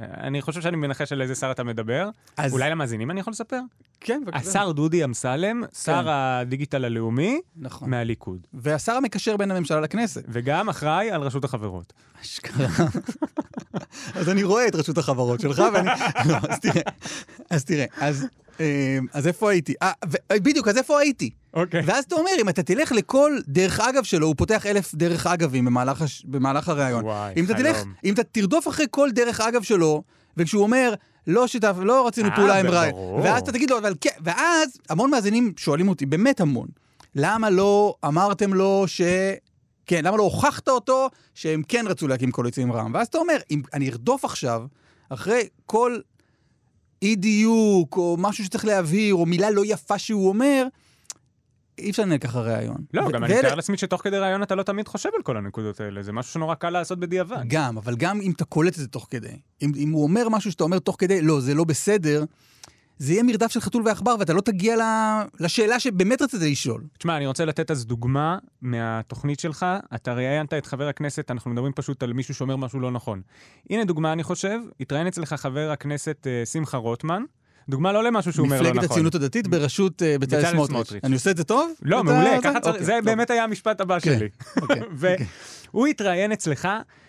Speaker 2: אני חושב שאני מנחש על איזה שר אתה מדבר.
Speaker 3: אז...
Speaker 2: אולי למאזינים אני יכול לספר?
Speaker 3: כן,
Speaker 2: השר דודי אמסלם, שר הדיגיטל הלאומי
Speaker 3: נכון.
Speaker 2: מהליכוד,
Speaker 3: והשר המקשר בין הממשלה לכנסת.
Speaker 2: וגם אחראי על רשות החברות.
Speaker 3: אשכרה. אז אני רואה את רשות החברות שלך, ואני... לא, אז תראה, אז תראה, אז... אה, אז איפה הייתי? אה, ו- בדיוק, אז איפה הייתי?
Speaker 2: אוקיי.
Speaker 3: ואז אתה אומר, אם אתה תלך לכל דרך אגב שלו, הוא פותח אלף דרך אגבים במהלך, הש... במהלך הראיון.
Speaker 2: וואי,
Speaker 3: אם אתה תלך,
Speaker 2: חלום.
Speaker 3: אם אתה תרדוף אחרי כל דרך אגב שלו, וכשהוא אומר, לא שיתף, לא רצינו
Speaker 2: אה,
Speaker 3: פעולה עם
Speaker 2: ברור.
Speaker 3: ראי, ואז אתה תגיד לו, אבל כן, ואז המון מאזינים שואלים אותי, באמת המון, למה לא אמרתם לו ש... כן, למה לא הוכחת אותו שהם כן רצו להקים קואליציה עם רע"מ? ואז אתה אומר, אם אני ארדוף עכשיו, אחרי כל אי דיוק, או משהו שצריך להבהיר, או מילה לא יפה שהוא אומר, אי אפשר לנהל ככה ראיון.
Speaker 2: לא,
Speaker 3: ו-
Speaker 2: גם אני
Speaker 3: ואלה-
Speaker 2: מתאר לעצמי שתוך כדי ראיון אתה לא תמיד חושב על כל הנקודות האלה, זה משהו שנורא קל לעשות בדיעבד.
Speaker 3: גם, אבל גם אם אתה קולט את זה תוך כדי. אם, אם הוא אומר משהו שאתה אומר תוך כדי, לא, זה לא בסדר, זה יהיה מרדף של חתול ועכבר, ואתה לא תגיע ל... לשאלה שבאמת רצית לשאול.
Speaker 2: תשמע, אני רוצה לתת אז דוגמה מהתוכנית שלך. אתה ראיינת את חבר הכנסת, אנחנו מדברים פשוט על מישהו שאומר משהו לא נכון. הנה דוגמה, אני חושב, התראיין אצלך חבר הכנסת אה, שמחה רוטמן, דוגמה לא למשהו שהוא אומר לא נכון.
Speaker 3: מפלגת הציונות הדתית בראשות אה, בצלאל
Speaker 2: בצלאל
Speaker 3: סמוטריץ'.
Speaker 2: סמוטריץ'.
Speaker 3: אני עושה את זה טוב?
Speaker 2: לא,
Speaker 3: אתה-
Speaker 2: מעולה,
Speaker 3: אתה-
Speaker 2: ככה צריך,
Speaker 3: אוקיי,
Speaker 2: זה
Speaker 3: טוב.
Speaker 2: באמת היה המשפט הבא
Speaker 3: כן,
Speaker 2: שלי.
Speaker 3: אוקיי.
Speaker 2: והוא התראיין אצלך,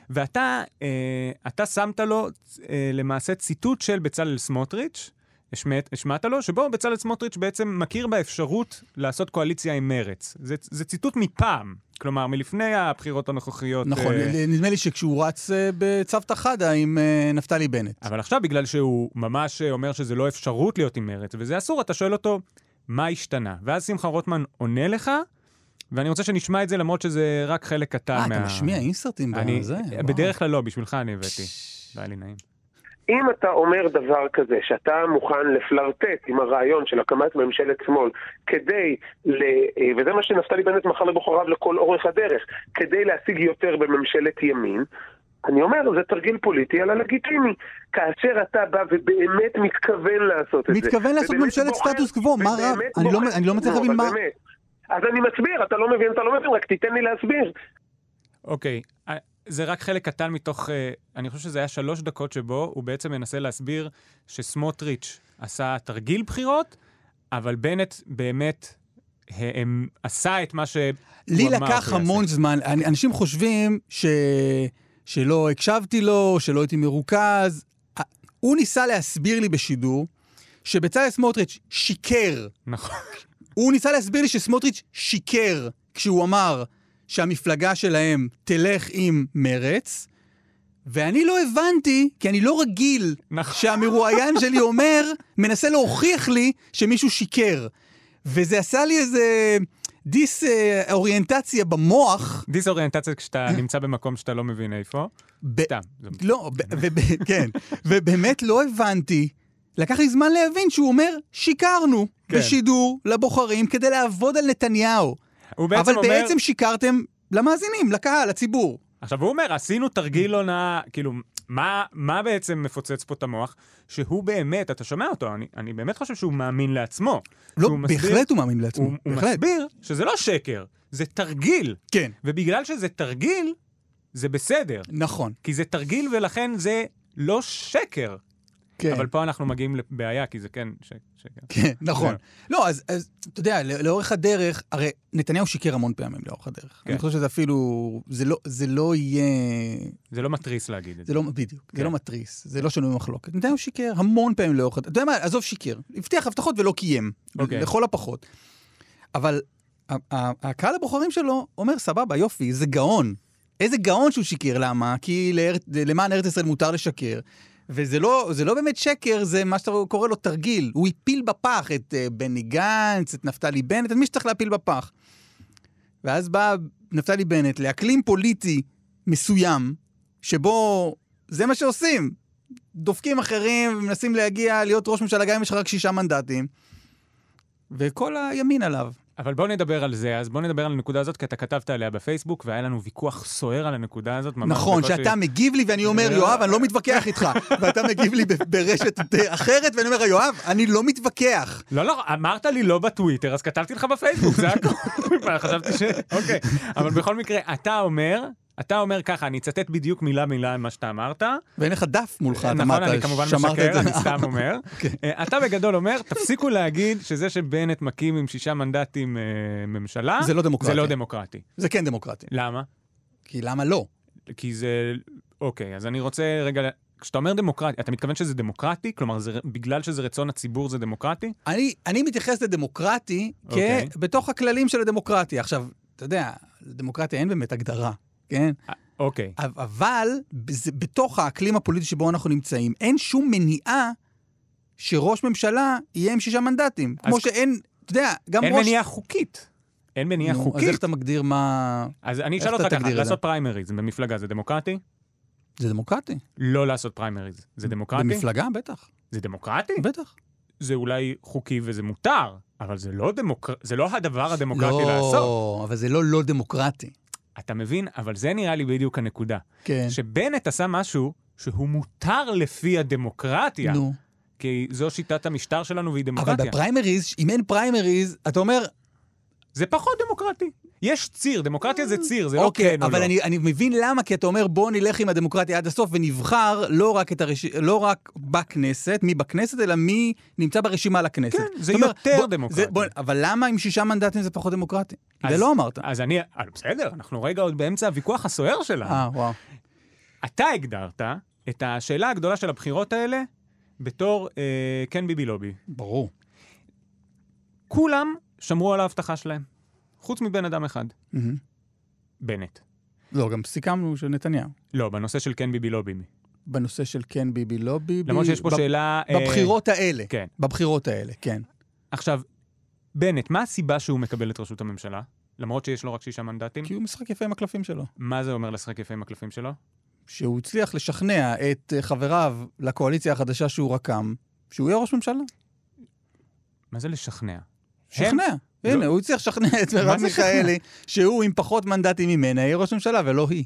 Speaker 2: ואתה אה, אתה שמת לו אה, למעשה ציטוט של בצלאל סמוטריץ', השמעת, השמעת לו, שבו בצלאל סמוטריץ' בעצם מכיר באפשרות לעשות קואליציה עם מרץ. זה, זה ציטוט מפעם, כלומר, מלפני הבחירות הנוכחיות.
Speaker 3: נכון,
Speaker 2: אה,
Speaker 3: נדמה לי שכשהוא רץ אה, בצוותא חדא עם אה, נפתלי בנט.
Speaker 2: אבל עכשיו, בגלל שהוא ממש אה, אומר שזה לא אפשרות להיות עם מרץ, וזה אסור, אתה שואל אותו, מה השתנה? ואז שמחה רוטמן עונה לך, ואני רוצה שנשמע את זה, למרות שזה רק חלק קטן
Speaker 3: אה,
Speaker 2: מה...
Speaker 3: אתה משמיע אינסרטים
Speaker 2: אני,
Speaker 3: בזה? וואו.
Speaker 2: בדרך כלל לא, בשבילך אני הבאתי. לא היה לי נעים.
Speaker 4: אם אתה אומר דבר כזה, שאתה מוכן לפלרטט עם הרעיון של הקמת ממשלת שמאל, כדי, ל... אה, וזה מה שנפתלי בנט מכר לבוחריו לכל אורך הדרך, כדי להשיג יותר בממשלת ימין, אני אומר, זה תרגיל פוליטי על הלגיטימי. כאשר אתה בא ובאמת מתכוון לעשות את זה.
Speaker 3: מתכוון לעשות
Speaker 4: ובאמת
Speaker 3: ממשלת
Speaker 4: בוחר-
Speaker 3: סטטוס קוו, מה רע?
Speaker 4: ובאמת
Speaker 3: אני לא-
Speaker 4: בוחר-
Speaker 3: אני לא מצליח להבין
Speaker 4: אבל
Speaker 3: מה-
Speaker 4: באמת. אז אני מסביר, אתה לא מבין, אתה לא מבין, רק תיתן לי להסביר.
Speaker 2: אוקיי, א- זה רק חלק קטן מתוך, אה, אני חושב שזה היה שלוש דקות שבו הוא בעצם מנסה להסביר שסמוטריץ' עשה תרגיל בחירות, אבל בנט באמת האם, עשה את מה שהוא אמר.
Speaker 3: לי
Speaker 2: שהוא
Speaker 3: לקח
Speaker 2: יעשה.
Speaker 3: המון זמן, אני- אנשים חושבים ש... שלא הקשבתי לו, שלא הייתי מרוכז. ה- הוא ניסה להסביר לי בשידור שבצלאל סמוטריץ' שיקר.
Speaker 2: נכון.
Speaker 3: הוא ניסה להסביר לי שסמוטריץ' שיקר כשהוא אמר שהמפלגה שלהם תלך עם מרץ, ואני לא הבנתי, כי אני לא רגיל
Speaker 2: נכון.
Speaker 3: שהמרואיין שלי אומר, מנסה להוכיח לי שמישהו שיקר. וזה עשה לי איזה דיס אה, אוריינטציה במוח.
Speaker 2: דיסאוריינטציה כשאתה נמצא במקום שאתה לא מבין איפה.
Speaker 3: ב-
Speaker 2: סתם. זה-
Speaker 3: לא, ב- וב- כן, ובאמת לא הבנתי. לקח לי זמן להבין שהוא אומר, שיקרנו
Speaker 2: כן.
Speaker 3: בשידור לבוחרים כדי לעבוד על נתניהו.
Speaker 2: הוא בעצם
Speaker 3: אבל
Speaker 2: אומר...
Speaker 3: בעצם שיקרתם למאזינים, לקהל, לציבור.
Speaker 2: עכשיו, הוא אומר, עשינו תרגיל הונאה, כאילו, מה, מה בעצם מפוצץ פה את המוח? שהוא באמת, אתה שומע אותו, אני, אני באמת חושב שהוא מאמין לעצמו.
Speaker 3: לא,
Speaker 2: שהוא מסביר-
Speaker 3: בהחלט הוא מאמין לעצמו.
Speaker 2: הוא, הוא
Speaker 3: בהחלט.
Speaker 2: מסביר שזה לא שקר, זה תרגיל.
Speaker 3: כן,
Speaker 2: ובגלל שזה תרגיל, זה בסדר.
Speaker 3: נכון.
Speaker 2: כי זה תרגיל ולכן זה לא שקר.
Speaker 3: כן.
Speaker 2: אבל פה אנחנו מגיעים לבעיה, כי זה כן ש- שקר.
Speaker 3: כן, נכון.
Speaker 2: כן.
Speaker 3: לא, אז, אז אתה יודע, לא- לאורך הדרך, הרי נתניהו שיקר המון פעמים לאורך
Speaker 2: כן.
Speaker 3: הדרך. אני חושב שזה אפילו, זה לא, זה לא יהיה,
Speaker 2: זה לא מתריס להגיד את זה.
Speaker 3: זה לא, בדיוק, זה
Speaker 2: כן.
Speaker 3: לא מתריס, זה לא שנוי במחלוקת. נתניהו שיקר המון פעמים לאורך הדרך. אתה יודע מה, עזוב שיקר, הבטיח הבטחות ולא קיים,
Speaker 2: אוקיי.
Speaker 3: לכל הפחות. אבל ה- ה- הקהל הבוחרים שלו אומר, סבבה, יופי, זה גאון. איזה גאון שהוא שיקר, למה? כי לאר... למען ארץ ישראל מותר לשקר. וזה לא, זה לא באמת שקר, זה מה שאתה קורא לו תרגיל. הוא הפיל בפח את אה, בני גנץ, את נפתלי בנט, את מי שצריך להפיל בפח. ואז בא נפתלי בנט לאקלים פוליטי מסוים, שבו זה מה שעושים. דופקים אחרים ומנסים להגיע להיות ראש ממשלה גם אם יש לך רק שישה מנדטים. וכל הימין עליו.
Speaker 2: אבל בואו נדבר על זה, אז בואו נדבר על הנקודה הזאת, כי אתה כתבת עליה בפייסבוק, והיה לנו ויכוח סוער על הנקודה הזאת. ממש
Speaker 3: נכון,
Speaker 2: בקושי- אה.
Speaker 3: שאתה מגיב לי ואני אומר, יואב, אני לא מתווכח איתך. ואתה מגיב לי ב- ברשת אחרת, ואני אומר, יואב, אני לא מתווכח.
Speaker 2: לא, לא, אמרת לי לא בטוויטר, אז כתבתי לך בפייסבוק, זה הכל. חשבתי ש... אוקיי. אבל בכל מקרה, אתה אומר, אתה אומר ככה, אני אצטט בדיוק מילה מילה ממה שאתה אמרת.
Speaker 3: ואין לך דף מולך, אתה
Speaker 2: נכון,
Speaker 3: אמרת,
Speaker 2: אני כמובן
Speaker 3: שמרת את
Speaker 2: משקר, אני
Speaker 3: זה. אוקיי.
Speaker 2: סתם אומר. אה, אתה בגדול אומר, תפסיקו להגיד שזה שבנט מקים עם שישה מנדטים אה, ממשלה,
Speaker 3: זה לא דמוקרטי.
Speaker 2: זה לא דמוקרטי.
Speaker 3: זה כן דמוקרטי.
Speaker 2: למה?
Speaker 3: כי למה לא?
Speaker 2: כי זה... אוקיי, אז אני רוצה רגע... כשאתה אומר דמוקרטי, אתה מתכוון שזה דמוקרטי? כלומר, זה... בגלל שזה רצון הציבור זה דמוקרטי?
Speaker 3: אני, אני מתייחס לדמוקרטי כ...
Speaker 2: אוקיי.
Speaker 3: בתוך הכללים של הדמוקרטיה. עכשיו, אתה יודע, לדמוקרטיה אין באמת הגדרה, כן?
Speaker 2: אה, אוקיי.
Speaker 3: אב- אבל זה- בתוך האקלים הפוליטי שבו אנחנו נמצאים, אין שום מניעה שראש ממשלה יהיה עם שישה מנדטים.
Speaker 2: אז-
Speaker 3: כמו שאין, אתה יודע, גם
Speaker 2: אין
Speaker 3: ראש...
Speaker 2: מניעה חוקית. אין מניעה
Speaker 3: נו,
Speaker 2: חוקית.
Speaker 3: אז איך אתה מגדיר מה...
Speaker 2: אז אני
Speaker 3: איך
Speaker 2: אשאל
Speaker 3: אתה
Speaker 2: אותך ככה,
Speaker 3: תגדיר את זה?
Speaker 2: לעשות פריימריז במפלגה זה דמוקרטי?
Speaker 3: זה דמוקרטי.
Speaker 2: לא לעשות פריימריז זה דמוקרטי? כן.
Speaker 3: במפלגה, בטח.
Speaker 2: זה דמוקרטי?
Speaker 3: בטח.
Speaker 2: זה אולי חוקי וזה מותר, אבל זה לא דמוקרטי, זה לא הדבר הדמוקרטי לעשות.
Speaker 3: לא, אבל זה לא לא דמוקרטי.
Speaker 2: אתה מבין? אבל זה נראה לי בדיוק הנקודה.
Speaker 3: כן.
Speaker 2: שבנט עשה משהו שהוא מותר לפי הדמוקרטיה,
Speaker 3: נו.
Speaker 2: כי זו שיטת המשטר שלנו והיא
Speaker 3: אבל
Speaker 2: דמוקרטיה.
Speaker 3: בפריימריז, אם אין פריימריז, אתה אומר,
Speaker 2: זה פחות דמוקרטי. יש ציר, דמוקרטיה זה ציר, זה לא
Speaker 3: אוקיי,
Speaker 2: כן או לא.
Speaker 3: אבל אני, אני מבין למה, כי אתה אומר בוא נלך עם הדמוקרטיה עד הסוף ונבחר לא רק, את הרש... לא רק בכנסת, מי בכנסת, אלא מי נמצא ברשימה לכנסת.
Speaker 2: כן, זה
Speaker 3: זאת אומרת,
Speaker 2: יותר
Speaker 3: בוא-
Speaker 2: דמוקרטי.
Speaker 3: זה, בוא, אבל למה עם שישה מנדטים זה פחות דמוקרטי?
Speaker 2: אז-
Speaker 3: זה לא אמרת.
Speaker 2: אז אני, אה, בסדר, אנחנו רגע עוד באמצע הוויכוח הסוער שלנו.
Speaker 3: אה, וואו.
Speaker 2: אתה הגדרת את השאלה הגדולה של הבחירות האלה בתור אה, כן ביבי לא ביבי.
Speaker 3: ברור.
Speaker 2: כולם שמרו על ההבטחה שלהם, חוץ מבן אדם אחד,
Speaker 3: מהמם.
Speaker 2: בנט.
Speaker 3: לא, גם סיכמנו של נתניהו.
Speaker 2: לא, בנושא של כן ביבי לא ביבי.
Speaker 3: בנושא של כן ביבי, לא ביבי.
Speaker 2: למרות שיש פה
Speaker 3: ב-
Speaker 2: שאלה... אה,
Speaker 3: בבחירות האלה.
Speaker 2: כן.
Speaker 3: בבחירות האלה, כן.
Speaker 2: עכשיו, בנט, מה הסיבה שהוא מקבל את ראשות הממשלה? למרות שיש לו רק שישה מנדטים,
Speaker 3: כי הוא משחק יפה עם הקלפים שלו.
Speaker 2: מה זה אומר לשחק יפה עם הקלפים שלו?
Speaker 3: שהוא הצליח לשכנע את אה, חבריו לקואליציה החדשה שהוא רקם, שהוא יהיה ראש ממשלה.
Speaker 2: מה זה לשכנע?
Speaker 3: שכנע.
Speaker 2: הם-
Speaker 3: הנה,
Speaker 2: לא.
Speaker 3: הוא הצליח לשכנע את מרב
Speaker 2: זה שכנע?
Speaker 3: מיכאלי שהוא עם פחות מנדטים ממנה יהיה ראש ממשלה ולא היא.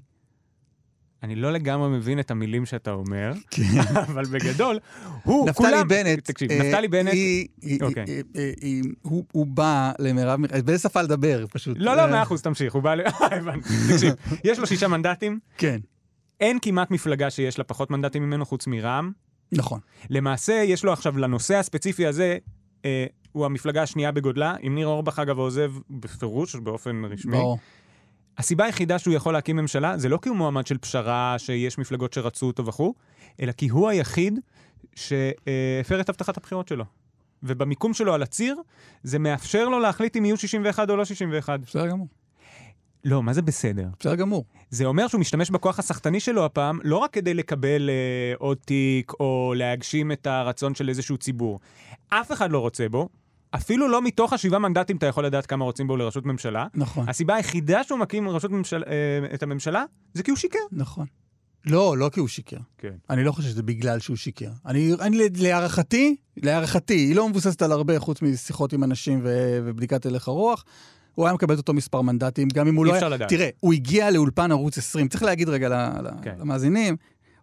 Speaker 2: אני לא לגמרי מבין את המילים שאתה אומר,
Speaker 3: כן.
Speaker 2: אבל בגדול, הוא, כולם...
Speaker 3: נפתלי בנט,
Speaker 2: תקשיב,
Speaker 3: אה,
Speaker 2: נפתלי בנט...
Speaker 3: היא- היא-
Speaker 2: אוקיי.
Speaker 3: היא- היא- היא- הוא- הוא בא למרב מיכאלי, באיזה שפה לדבר פשוט.
Speaker 2: לא, לא,
Speaker 3: אה,
Speaker 2: מאה אחוז, תמשיך, הוא בא ל... אה, הבנתי, תקשיב, יש לו שישה מנדטים,
Speaker 3: כן,
Speaker 2: אין כמעט מפלגה שיש לה פחות מנדטים ממנו חוץ מרע"מ.
Speaker 3: נכון.
Speaker 2: למעשה, יש לו עכשיו, לנושא הספציפי הזה, אה, הוא המפלגה השנייה בגודלה. אם ניר אורבך, אגב, עוזב בפירוש, באופן רשמי.
Speaker 3: ברור.
Speaker 2: הסיבה היחידה שהוא יכול להקים ממשלה, זה לא כי הוא מועמד של פשרה, שיש מפלגות שרצו אותו וכו', אלא כי הוא היחיד שהפר את הבטחת הבחירות שלו. ובמיקום שלו על הציר, זה מאפשר לו להחליט אם יהיו 61 או לא 61.
Speaker 3: בסדר גמור.
Speaker 2: לא, מה זה בסדר?
Speaker 3: בסדר גמור.
Speaker 2: זה אומר שהוא משתמש בכוח הסחטני שלו הפעם, לא רק כדי לקבל אה, עוד תיק או להגשים את הרצון של איזשהו ציבור. אף אחד לא רוצה בו, אפילו לא מתוך השבעה מנדטים אתה יכול לדעת כמה רוצים בו לראשות ממשלה.
Speaker 3: נכון.
Speaker 2: הסיבה היחידה שהוא מקים ראשות ממשל, אה, את הממשלה, זה כי הוא שיקר.
Speaker 3: נכון. לא, לא כי הוא שיקר.
Speaker 2: כן.
Speaker 3: אני לא חושב שזה בגלל שהוא שיקר. אני, אני להערכתי, להערכתי, היא לא מבוססת על הרבה חוץ משיחות עם אנשים ו, ובדיקת הלך הרוח. הוא היה מקבל את אותו מספר מנדטים, גם אם הוא
Speaker 2: אי
Speaker 3: לא היה...
Speaker 2: אפשר לדעת.
Speaker 3: תראה, הוא הגיע לאולפן ערוץ 20, צריך להגיד רגע ל- ל-
Speaker 2: כן.
Speaker 3: למאזינים,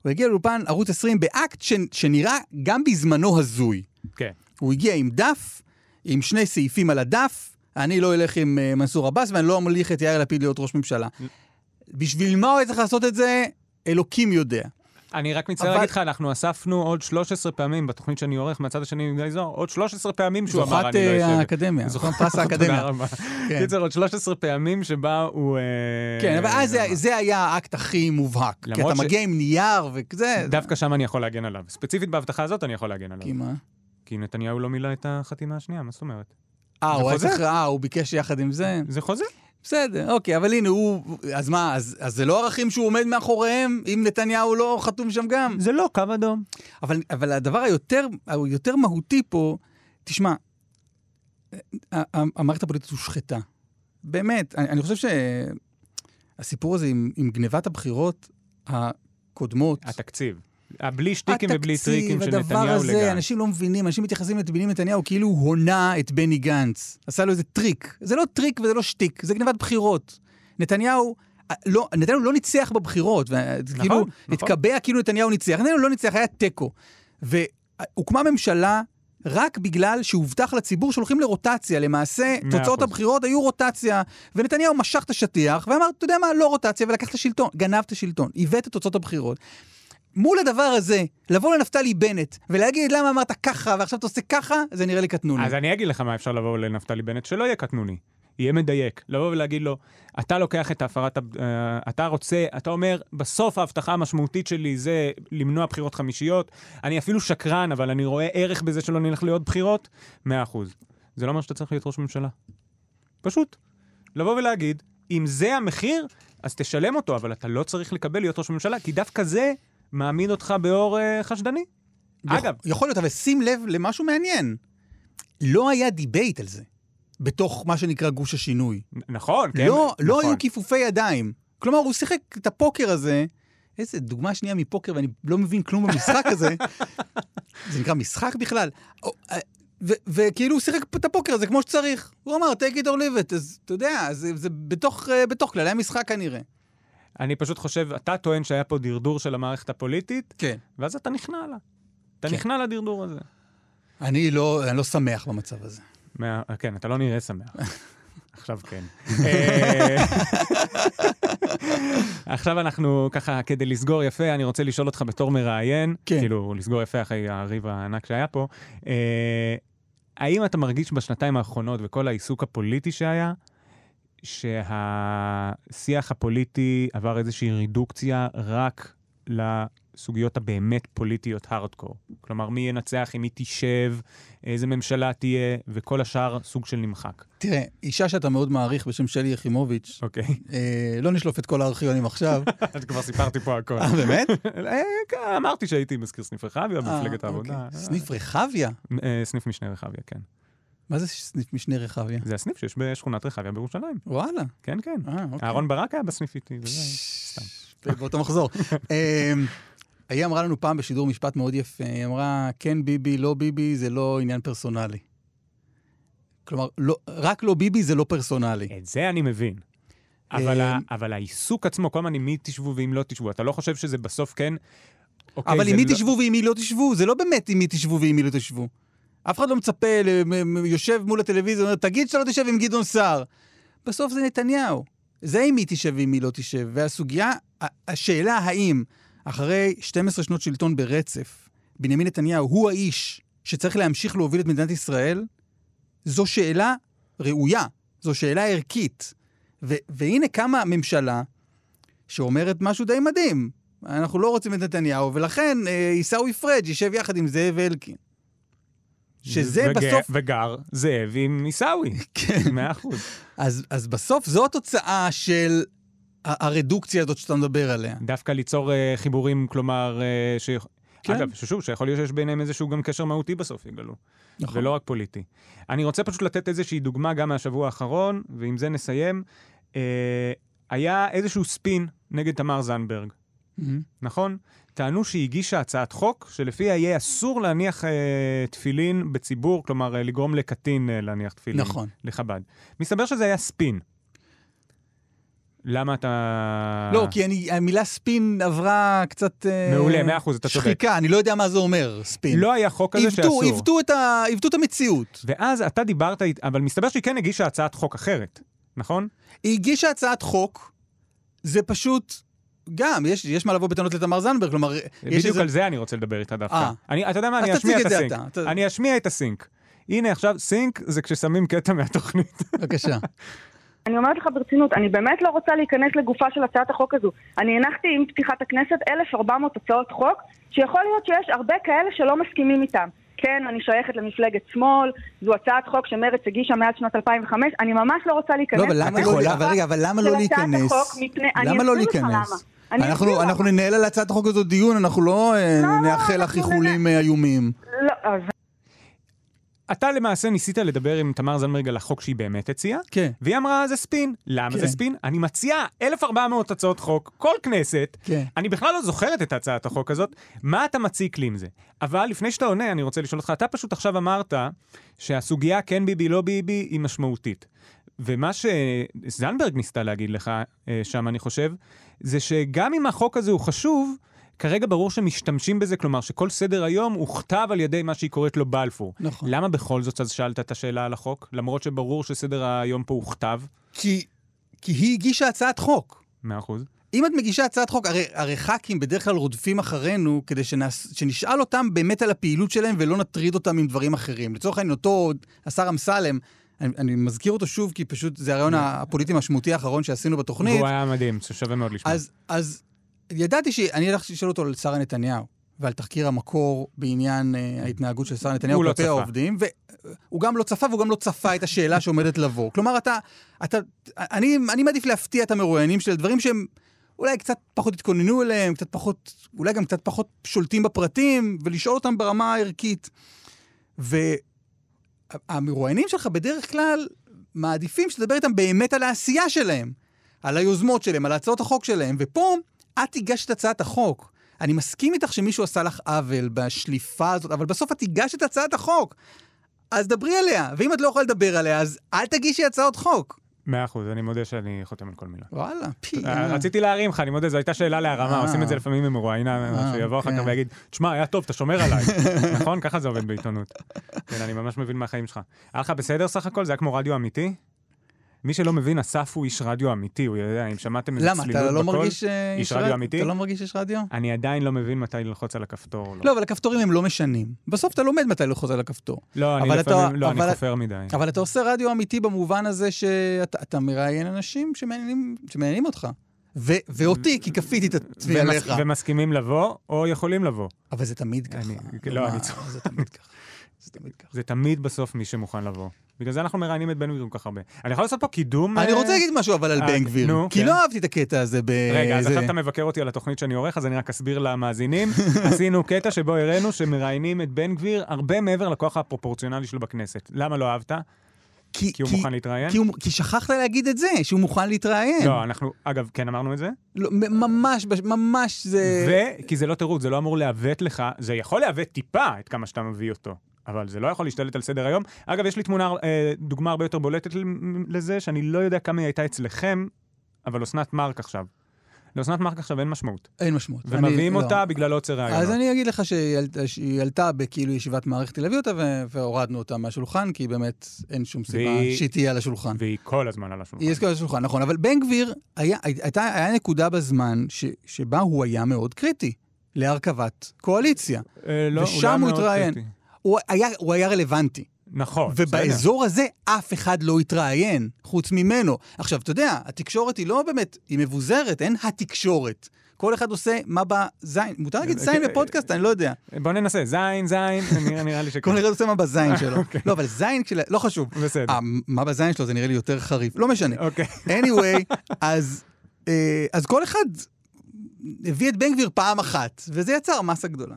Speaker 3: הוא הגיע לאולפן ערוץ 20 באקט ש, שנראה גם בזמנו הזוי.
Speaker 2: כן.
Speaker 3: הוא הגיע עם דף, עם שני סעיפים על הדף, אני לא אלך עם אה, מנסור עבאס ואני לא אמליך את יאיר לפיד להיות ראש ממשלה. בשביל מה הוא היה צריך לעשות את זה? אלוקים יודע.
Speaker 2: אני רק מצטער
Speaker 3: אבל-
Speaker 2: להגיד לך, אנחנו אספנו עוד 13 פעמים בתוכנית שאני עורך מהצד השני עם גיא זוהר, עוד 13 פעמים שהוא אמר,
Speaker 3: זוכת
Speaker 2: אני לא אשב.
Speaker 3: אה, האקדמיה, זוכת פרס
Speaker 2: תודה
Speaker 3: האקדמיה.
Speaker 2: רבה.
Speaker 3: כן.
Speaker 2: קיצר, עוד 13 פעמים שבה הוא... אה,
Speaker 3: כן, אבל אז זה-
Speaker 2: אמר.
Speaker 3: זה היה האקט הכי מובהק. כי
Speaker 2: למרות
Speaker 3: אתה
Speaker 2: ש-
Speaker 3: מגיע עם נייר וכזה.
Speaker 2: דווקא שם אני יכול להגן עליו. ספציפית בהבטחה הזאת אני יכול להגן עליו.
Speaker 3: כי מה?
Speaker 2: כי נתניהו לא מילא את החתימה השנייה, מה זאת אומרת?
Speaker 3: אה,
Speaker 2: נכון, זה
Speaker 3: הוא היה
Speaker 2: חוזה.
Speaker 3: צריך, אה, הוא ביקש יחד עם זה.
Speaker 2: זה חוזה.
Speaker 3: בסדר, אוקיי, אבל הנה, הוא... אז מה, אז אז זה לא ערכים שהוא עומד מאחוריהם, אם נתניהו לא חתום שם גם?
Speaker 2: זה לא קו אדום.
Speaker 3: אבל, אבל הדבר היותר, היותר מהותי פה, תשמע, ה- ה- המערכת הפוליטית הושחתה. באמת, אני, אני חושב שהסיפור הזה עם, עם גנבת הבחירות הקודמות,
Speaker 2: התקציב. בלי שטיקים ובלי
Speaker 3: התקציב,
Speaker 2: טריקים של
Speaker 3: הדבר
Speaker 2: נתניהו
Speaker 3: הזה,
Speaker 2: לגן.
Speaker 3: אנשים לא מבינים, אנשים מתייחסים לבנימין נתניהו כאילו הוא הונה את בני גנץ. עשה לו איזה טריק. זה לא טריק וזה לא שטיק, זה גנבת בחירות. נתניהו... אה, לא, נתניהו לא ניצח בבחירות, נכון, כאילו,
Speaker 2: נכון.
Speaker 3: התקבע כאילו נתניהו ניצח, נתניהו לא ניצח, היה תיקו. והוקמה ממשלה רק בגלל שהובטח לציבור שהולכים לרוטציה, למעשה
Speaker 2: מאה
Speaker 3: תוצאות
Speaker 2: אחוז.
Speaker 3: הבחירות היו רוטציה, ונתניהו משך את השטיח ואמר, אתה יודע מה, לא רוטציה, ולקח את השלטון, גנב את השלטון, עיוות את תוצאות הבחירות. מול הדבר הזה, לבוא לנפתלי בנט ולהגיד למה אמרת ככה ועכשיו אתה עושה ככה, זה נראה לי קטנוני.
Speaker 2: אז אני אגיד לך מה אפשר לבוא לנפתלי בנט, שלא יהיה קטנוני, יהיה מדייק. לבוא ולהגיד לו, אתה לוקח את הפרת, הב- אה, אתה רוצה, אתה אומר, בסוף ההבטחה המשמעותית שלי זה למנוע בחירות חמישיות, אני אפילו שקרן, אבל אני רואה ערך בזה שלא נלך לעוד בחירות, 100%. זה לא אומר שאתה צריך להיות ראש ממשלה. פשוט. לבוא ולהגיד, אם זה המחיר, אז תשלם אותו, אבל אתה לא צריך לקבל להיות ראש ממשלה, כי דווקא זה מעמיד אותך באור אה, חשדני.
Speaker 3: יכול-
Speaker 2: אגב,
Speaker 3: יכול להיות, אבל שים לב למשהו מעניין. לא היה דיבייט על זה, בתוך מה שנקרא גוש השינוי.
Speaker 2: נכון, כן.
Speaker 3: לא, לא
Speaker 2: נכון.
Speaker 3: היו כיפופי ידיים. כלומר, הוא שיחק את הפוקר הזה, איזה דוגמה שנייה מפוקר, ואני לא מבין כלום במשחק הזה. זה נקרא משחק בכלל? או, אה, ו- וכאילו הוא שיחק את הפוקר הזה כמו שצריך. הוא אמר, take it or leave it, אז אתה יודע, זה, זה בתוך, אה, בתוך כללי המשחק כנראה.
Speaker 2: אני פשוט חושב, אתה טוען שהיה פה דרדור של המערכת הפוליטית,
Speaker 3: כן.
Speaker 2: ואז אתה נכנע לה. אתה
Speaker 3: כן.
Speaker 2: נכנע לדרדור הזה.
Speaker 3: אני לא, אני לא שמח במצב הזה.
Speaker 2: מה... אה, כן, אתה לא נראה שמח. עכשיו כן. אה, עכשיו אנחנו ככה, כדי לסגור יפה, אני רוצה לשאול אותך בתור מראיין,
Speaker 3: כן.
Speaker 2: כאילו, לסגור יפה אחרי הריב הענק שהיה פה, אה, האם אתה מרגיש בשנתיים האחרונות וכל העיסוק הפוליטי שהיה, שהשיח הפוליטי עבר איזושהי רידוקציה רק לסוגיות הבאמת פוליטיות הארדקור? כלומר, מי ינצח, עם מי תשב, איזה ממשלה תהיה, וכל השאר סוג של נמחק.
Speaker 3: תראה, אישה שאתה מאוד מעריך בשם שלי יחימוביץ',
Speaker 2: אוקיי,
Speaker 3: אה, לא נשלוף את כל הארכיונים עכשיו.
Speaker 2: אז כבר סיפרתי פה הכל.
Speaker 3: אה, באמת?
Speaker 2: אה, כן, אמרתי שהייתי מזכיר סניף רחביה במפלגת
Speaker 3: אה,
Speaker 2: העבודה.
Speaker 3: אוקיי. סניף רחביה?
Speaker 2: אה, סניף משנה רחביה, כן.
Speaker 3: מה זה סניף משנה רחביה?
Speaker 2: זה הסניף שיש בשכונת רחביה בירושלים.
Speaker 3: וואלה.
Speaker 2: כן, כן.
Speaker 3: אה, אוקיי.
Speaker 2: אהרון ברק היה בסניף איתי. וזה היה.
Speaker 3: באותו מחזור. אמ, היא אמרה לנו פעם בשידור משפט מאוד יפה, היא אמרה, כן ביבי, לא ביבי, זה לא עניין פרסונלי. כלומר, לא, רק לא ביבי זה לא פרסונלי.
Speaker 2: את זה אני מבין. אבל
Speaker 3: אה,
Speaker 2: ה- אבל העיסוק עצמו, כל הזמן עם מי תשבו ועם לא תשבו, אתה לא חושב שזה בסוף כן... אוקיי,
Speaker 3: אבל
Speaker 2: זה
Speaker 3: עם מי
Speaker 2: לא-
Speaker 3: תשבו ועם מי לא תשבו, זה לא באמת עם מי תשבו ועם מי לא תשבו. אף אחד לא מצפה, ל- מ- מ- יושב מול הטלוויזיה, אומר, תגיד שאתה לא תשב עם גדעון סער. בסוף זה נתניהו. זה עם מי תשב ועם מי לא תשב. והסוגיה, ה- השאלה האם אחרי 12 שנות שלטון ברצף, בנימין נתניהו הוא האיש שצריך להמשיך להוביל את מדינת ישראל, זו שאלה ראויה, זו שאלה ערכית. ו- והנה קמה ממשלה שאומרת משהו די מדהים. אנחנו לא רוצים את נתניהו, ולכן אה, עיסאווי פריג' ישב יחד עם זאב אלקין. שזה
Speaker 2: וג-
Speaker 3: בסוף...
Speaker 2: וגר זאב עם עיסאווי,
Speaker 3: כן.
Speaker 2: מאה אחוז.
Speaker 3: אז, אז בסוף זו התוצאה של ה- הרדוקציה הזאת שאתה מדבר עליה.
Speaker 2: דווקא ליצור אה, חיבורים, כלומר, אה, ש...
Speaker 3: כן.
Speaker 2: אגב, ששוב, שיכול להיות שיש ביניהם איזשהו גם קשר מהותי בסוף, יגלו.
Speaker 3: נכון.
Speaker 2: ולא רק פוליטי. אני רוצה פשוט לתת איזושהי דוגמה גם מהשבוע האחרון, ועם זה נסיים. אה, היה איזשהו ספין נגד תמר זנדברג,
Speaker 3: מהמם.
Speaker 2: נכון? טענו שהיא הגישה הצעת חוק שלפיה יהיה אסור להניח אה, תפילין בציבור, כלומר, אה, לגרום לקטין אה, להניח תפילין.
Speaker 3: נכון.
Speaker 2: לחב"ד. מסתבר שזה היה ספין. למה אתה...
Speaker 3: לא, כי אני, המילה ספין עברה קצת... אה,
Speaker 2: מעולה, מאה אחוז, אתה צודק.
Speaker 3: שחיקה, אני לא יודע מה זה אומר, ספין.
Speaker 2: לא היה חוק כזה
Speaker 3: עיוותו,
Speaker 2: שאסור.
Speaker 3: עיוותו את, ה- עיוותו את המציאות.
Speaker 2: ואז אתה דיברת, אית- אבל מסתבר שהיא כן הגישה הצעת חוק אחרת, נכון?
Speaker 3: היא הגישה הצעת חוק, זה פשוט... גם, יש, יש מה לבוא בטענות לתמר זנדברג, כלומר, יש
Speaker 2: בדיוק על זה אני רוצה לדבר איתה דווקא.
Speaker 3: אה.
Speaker 2: אני, אתה יודע מה,
Speaker 3: אז
Speaker 2: אני אשמיע את
Speaker 3: תציג את זה
Speaker 2: הסינק.
Speaker 3: אתה, אתה-
Speaker 2: אני אשמיע את הסינק. הנה עכשיו, סינק זה כששמים קטע מהתוכנית.
Speaker 3: בבקשה.
Speaker 5: אני אומרת לך ברצינות, אני באמת לא רוצה להיכנס לגופה של הצעת החוק הזו. אני הנחתי עם פתיחת הכנסת 1,400 הצעות חוק, שיכול להיות שיש הרבה כאלה שלא מסכימים איתם. כן, אני שייכת למפלגת שמאל, זו הצעת חוק שמרצ הגישה מאז שנות 2005, אני ממש לא רוצה להיכנס.
Speaker 3: לא, אבל למה
Speaker 5: לגופה
Speaker 3: לא, אבל רגע, אבל למה
Speaker 5: של
Speaker 3: לא
Speaker 5: הצעת
Speaker 3: להיכנס?
Speaker 5: החוק מפני- אני
Speaker 3: למה לא
Speaker 5: אסביר לך
Speaker 3: להיכנס?
Speaker 5: למה. אני אסביר
Speaker 3: אנחנו,
Speaker 5: למה.
Speaker 3: אנחנו ננהל על הצעת החוק הזאת דיון, אנחנו לא אה,
Speaker 5: לא,
Speaker 3: נאחל לך
Speaker 5: אנחנו
Speaker 3: איחולים אה, איומים.
Speaker 5: לא, אז
Speaker 2: אתה למעשה ניסית לדבר עם תמר זנדברג על החוק שהיא באמת הציעה,
Speaker 3: כן.
Speaker 2: והיא אמרה, זה ספין. למה
Speaker 3: כן.
Speaker 2: זה ספין? אני מציעה 1,400 הצעות חוק, כל כנסת.
Speaker 3: כן.
Speaker 2: אני בכלל לא זוכרת את הצעת החוק הזאת. מה אתה מציק לי עם זה? אבל לפני שאתה עונה, אני רוצה לשאול אותך, אתה פשוט עכשיו אמרת שהסוגיה כן ביבי, לא ביבי, היא משמעותית. ומה שזנדברג ניסתה להגיד לך אה, שם, אני חושב, זה שגם אם החוק הזה הוא חשוב, כרגע ברור שמשתמשים בזה, כלומר שכל סדר היום הוכתב על ידי מה שהיא קוראת לו בלפור.
Speaker 3: נכון.
Speaker 2: למה בכל זאת אז שאלת את השאלה על החוק? למרות שברור שסדר היום פה הוכתב,
Speaker 3: כי, כי היא הגישה הצעת חוק.
Speaker 2: מאה אחוז.
Speaker 3: אם את מגישה הצעת חוק, הרי, הרי ח"כים בדרך כלל רודפים אחרינו כדי שנס, שנשאל אותם באמת על הפעילות שלהם ולא נטריד אותם עם דברים אחרים. לצורך העניין, אותו השר אמסלם, אני, אני מזכיר אותו שוב, כי פשוט זה הרעיון הפוליטי המשמעותי האחרון שעשינו בתוכנית.
Speaker 2: והוא היה מדהים, ששווה מאוד לשמוע.
Speaker 3: אז, אז ידעתי שאני הלכתי לשאול אותו על שרה נתניהו ועל תחקיר המקור בעניין אה, ההתנהגות של שרה נתניהו
Speaker 2: הוא לא
Speaker 3: כלפי
Speaker 2: צפה.
Speaker 3: העובדים, והוא גם לא צפה והוא גם לא צפה את השאלה שעומדת לבוא. כלומר, אתה, אתה, אני, אני מעדיף להפתיע את המרואיינים של דברים שהם אולי קצת פחות התכוננו אליהם, קצת פחות, אולי גם קצת פחות שולטים בפרטים, ולשאול אותם ברמה הערכית. והמרואיינים שלך בדרך כלל מעדיפים שתדבר איתם באמת על העשייה שלהם, על היוזמות שלהם, על הצעות החוק שלהם, ופה את הגשת הצעת החוק. אני מסכים איתך שמישהו עשה לך עוול בשליפה הזאת, אבל בסוף את הגשת את הצעת החוק. אז דברי עליה, ואם את לא יכולה לדבר עליה, אז אל תגישי הצעות חוק.
Speaker 2: מאה אחוז, אני מודה שאני חותם על כל מילה.
Speaker 3: וואלה, פי...
Speaker 2: אה, רציתי להרים לך, אני מודה, זו הייתה שאלה להרמה,
Speaker 3: אה.
Speaker 2: עושים את זה לפעמים עם מרואיינה,
Speaker 3: אה,
Speaker 2: שיבוא אחר כך
Speaker 3: כן.
Speaker 2: ויגיד, תשמע, היה טוב, אתה שומר עליי. נכון? ככה זה עובד בעיתונות. כן, אני ממש מבין מהחיים שלך. היה לך בסדר סך הכל? זה היה כמו רדיו אמיתי? מי שלא מבין, אסף הוא איש רדיו אמיתי, הוא יודע, אם שמעתם איזה
Speaker 3: למה,
Speaker 2: צלילות
Speaker 3: אתה לא
Speaker 2: בקול,
Speaker 3: מרגיש אה,
Speaker 2: איש רדיו אמיתי?
Speaker 3: אתה לא מרגיש איש רדיו?
Speaker 2: אני עדיין לא מבין מתי ללחוץ על הכפתור או לא.
Speaker 3: לא, אבל הכפתורים הם לא משנים. בסוף אתה לומד מתי ללחוץ על הכפתור.
Speaker 2: לא, אני
Speaker 3: אבל אתה-
Speaker 2: לפעמים, לא, אני
Speaker 3: אבל-
Speaker 2: חופר מדי.
Speaker 3: אבל אתה עושה רדיו אמיתי במובן הזה שאתה אתה מראיין אנשים שמעניינים, שמעניינים אותך. ו- ואותי, כי כפיתי את עצמי
Speaker 2: ומס-
Speaker 3: עליך.
Speaker 2: ומסכימים לבוא, או יכולים לבוא.
Speaker 3: אבל זה תמיד ככה.
Speaker 2: אני-
Speaker 3: נו,
Speaker 2: לא,
Speaker 3: מה,
Speaker 2: אני צוחק.
Speaker 3: זה תמיד ככה. זה תמיד ככה.
Speaker 2: זה תמיד בסוף מי שמוכן לבוא. בגלל זה אנחנו מראיינים את בן גביר כל כך הרבה. אני יכול לעשות פה קידום...
Speaker 3: אני
Speaker 2: אה,
Speaker 3: רוצה להגיד משהו אבל על
Speaker 2: אה,
Speaker 3: בן גביר,
Speaker 2: נו,
Speaker 3: כי
Speaker 2: כן.
Speaker 3: לא אהבתי את הקטע הזה ב...
Speaker 2: רגע, אז
Speaker 3: אה, זה-
Speaker 2: עכשיו אתה מבקר אותי על התוכנית שאני עורך, אז אני רק אסביר למאזינים. עשינו קטע שבו הראינו שמראיינים את בן גביר הרבה מעבר לכוח הפרופורציונלי שלו בכנסת. למה לא אהבת? כי הוא מוכן להתראיין?
Speaker 3: כי הוא- כי שכחת להגיד את זה, שהוא מוכן להתראיין.
Speaker 2: לא, אנחנו, אגב, כן אמרנו את זה.
Speaker 3: לא, מ- ממש, בש- ממש זה...
Speaker 2: וכי זה לא תירוץ, זה לא אמור לעוות לך, זה יכול לעוות טיפה את כמה שאתה מביא אותו, אבל זה לא יכול להשתלט על סדר היום. אגב, יש לי תמונה, אה, דוגמה הרבה יותר בולטת ל- לזה, שאני לא יודע כמה היא הייתה אצלכם, אבל אסנת מארק עכשיו. לאסנת מארק עכשיו אין משמעות,
Speaker 3: אין משמעות.
Speaker 2: ומביאים
Speaker 3: אני- לא.
Speaker 2: אותה בגלל עוצר
Speaker 3: אז
Speaker 2: רעיונות.
Speaker 3: אני אגיד לך שהיא עלתה- שהיא עלתה בכאילו ישיבת מערכת תל אביב אותה, ו- והורדנו אותה מהשולחן, כי באמת אין שום סיבה
Speaker 2: והיא-
Speaker 3: שהיא תהיה על השולחן.
Speaker 2: והיא כל הזמן על השולחן.
Speaker 3: נכון. היא הזכירה על השולחן, נכון. אבל בן גביר, היה, הייתה, היה נקודה בזמן ש, שבה הוא היה מאוד קריטי להרכבת קואליציה.
Speaker 2: אה, לא,
Speaker 3: ושם
Speaker 2: אולי
Speaker 3: הוא
Speaker 2: מאוד
Speaker 3: התראיין.
Speaker 2: קריטי.
Speaker 3: הוא היה, הוא היה רלוונטי.
Speaker 2: נכון, בסדר.
Speaker 3: ובאזור הזה אף אחד לא התראיין, חוץ ממנו. עכשיו, אתה יודע, התקשורת היא לא באמת, היא מבוזרת, אין התקשורת. כל אחד עושה מה בזין, מותר להגיד
Speaker 2: אה,
Speaker 3: זין
Speaker 2: אה,
Speaker 3: בפודקאסט? אני לא יודע.
Speaker 2: בוא ננסה, זין, זין, נראה- נראה לי שכן.
Speaker 3: כל אחד עושה מה בזין שלו. לא, אבל זין, כשל- לא חשוב.
Speaker 2: אוקיי. בסדר.
Speaker 3: אה, מה בזין שלו זה נראה לי יותר חריף, לא משנה.
Speaker 2: אוקיי.
Speaker 3: anyway, אז, אה, אז כל אחד הביא את בן גביר פעם אחת, וזה יצר מסה גדולה.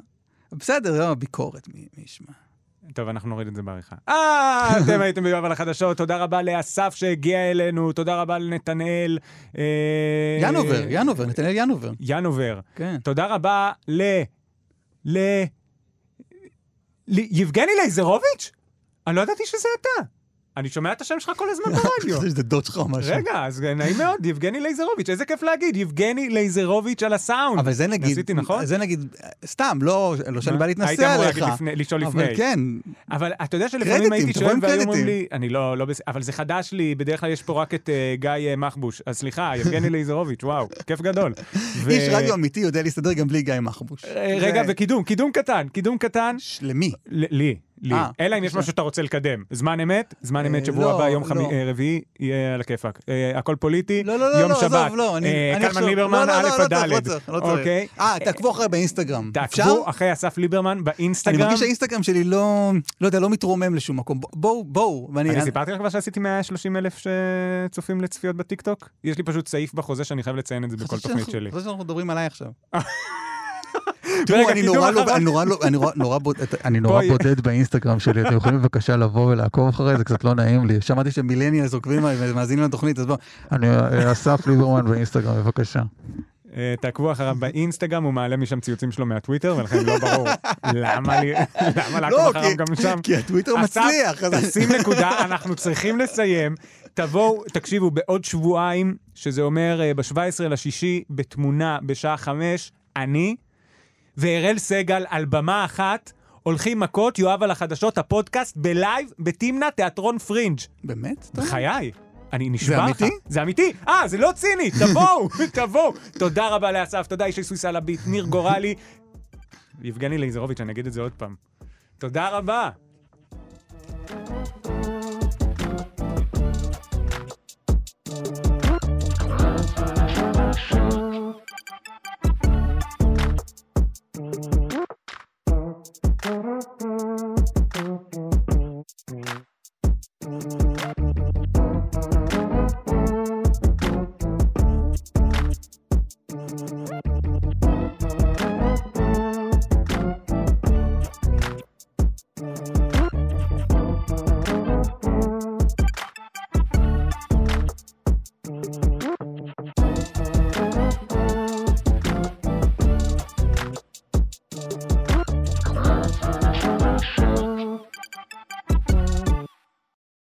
Speaker 3: בסדר, לא ביקורת, מי מי ישמע.
Speaker 2: טוב, אנחנו נוריד את זה בעריכה. אה, אתם הייתם ביום על החדשות, תודה רבה לאסף שהגיע אלינו, תודה רבה לנתנאל. אה,
Speaker 3: ינובר, ינובר, נתנאל ינובר.
Speaker 2: ינובר.
Speaker 3: כן.
Speaker 2: תודה רבה ל... ל... ל... יבגני לייזרוביץ'? אני לא ידעתי שזה אתה. אני שומע את השם שלך כל הזמן ברדיו.
Speaker 3: זה דוד שלך או משהו.
Speaker 2: רגע, אז נעים מאוד, יבגני לייזרוביץ', איזה כיף להגיד, יבגני לייזרוביץ' על הסאונד.
Speaker 3: אבל זה נגיד,
Speaker 2: עשיתי נכון?
Speaker 3: זה נגיד, סתם, לא לא שאני
Speaker 2: מה?
Speaker 3: בא להתנסה עליך.
Speaker 2: היית אמור להגיד לפני- לשאול
Speaker 3: אבל
Speaker 2: לפני.
Speaker 3: כן,
Speaker 2: אבל אתה יודע שלפעמים
Speaker 3: קרדיטים,
Speaker 2: הייתי
Speaker 3: תבוא
Speaker 2: שואל
Speaker 3: עם
Speaker 2: והיו אומרים
Speaker 3: קרדיטים.
Speaker 2: לי, אני לא, לא, בס- אבל זה חדש לי, בדרך כלל יש פה רק את אה, גיא אה, מחבוש. אז סליחה, יבגני לייזרוביץ', וואו, כיף גדול. ו-
Speaker 3: איש רדיו אמיתי יודע להסתדר גם בלי גיא מחבוש.
Speaker 2: אה, רגע,
Speaker 3: זה-
Speaker 2: וקידום, קידום קטן, קידום קטן.
Speaker 3: ש- למי?
Speaker 2: ל- לי, לי.
Speaker 3: אה,
Speaker 2: אלא אם יש
Speaker 3: בסדר.
Speaker 2: משהו שאתה רוצה לקדם. זמן אמת, זמן
Speaker 3: אה,
Speaker 2: אמת שבוע
Speaker 3: לא,
Speaker 2: הבא, יום
Speaker 3: לא.
Speaker 2: חמי- אה, רביעי, יהיה על הכיפאק. אה, הכל פוליטי,
Speaker 3: לא, לא, לא,
Speaker 2: יום
Speaker 3: לא,
Speaker 2: שבת.
Speaker 3: עזוב, לא, אני
Speaker 2: אה,
Speaker 3: אני
Speaker 2: קלמן
Speaker 3: עכשיו-
Speaker 2: ליברמן,
Speaker 3: לא, לא, לא,
Speaker 2: א'
Speaker 3: לא
Speaker 2: עד
Speaker 3: צריך, לא
Speaker 2: ד'.
Speaker 3: צריך, לא צריך.
Speaker 2: אוקיי.
Speaker 3: אה, תעקבו אחרי באינסטגרם. אפשר?
Speaker 2: תעקבו אחרי אסף ליברמן
Speaker 3: אני
Speaker 2: באינסטגרם.
Speaker 3: מרגיש שהאינסטגרם שלי לא, לא יודע, לא מתרומם לשום מקום. ב- בואו, בואו. ואני-
Speaker 2: אני סיפרתי לך כבר שעשיתי 130 אלף שצופים לצפיות בטיקטוק? יש לי פשוט סעיף בחוזה שאני חייב לציין את זה בכל
Speaker 3: חשבתי
Speaker 2: תוכנית
Speaker 3: שאנחנו-
Speaker 2: שלי.
Speaker 3: חשבתי שאנחנו מדברים עליי עכשיו.
Speaker 2: ורגע,
Speaker 3: תראו, אני
Speaker 2: קידום
Speaker 3: נורא
Speaker 2: אחרון.
Speaker 3: לא- אני נורא לא- אני נורא- נורא בוד- את- אני נורא
Speaker 2: בואי.
Speaker 3: בודד באינסטגרם שלי, אתם יכולים בבקשה לבוא ולעקוב אחרי זה, קצת לא נעים לי. שמעתי שמילניאלס עוקבים עליי ומאזינים לתוכנית, אז בואו. אני אה, אסף ליברמן באינסטגרם, בבקשה.
Speaker 2: אה, תעקבו אחריו באינסטגרם, הוא מעלה משם ציוצים שלו מהטוויטר, ולכן לא ברור למה לי- למה
Speaker 3: לא,
Speaker 2: לעקוב אחריו
Speaker 3: כי-
Speaker 2: גם שם.
Speaker 3: כי הטוויטר
Speaker 2: אסף,
Speaker 3: מצליח. אז-
Speaker 2: תשים נקודה, אנחנו צריכים לסיים. תבואו, תקשיבו, בעוד שבועיים, שזה אומר אה, ב-17 לשישי, בתמונה בשעה חמש, אני והראל סגל על במה אחת. הולכים מכות, יואב על החדשות, הפודקאסט בלייב, בתמנע, תיאטרון פרינג'.
Speaker 3: באמת? אתה אומר?
Speaker 2: בחיי. אני נשבע
Speaker 3: אה. זה
Speaker 2: לך.
Speaker 3: אמיתי?
Speaker 2: זה אמיתי? אה, זה לא ציני, תבואו, תבואו. תודה רבה לאסף, תודה ישי סויסה על הביט, ניר גורלי. יבגני לייזרוביץ', אני אגיד את זה עוד פעם. תודה רבה.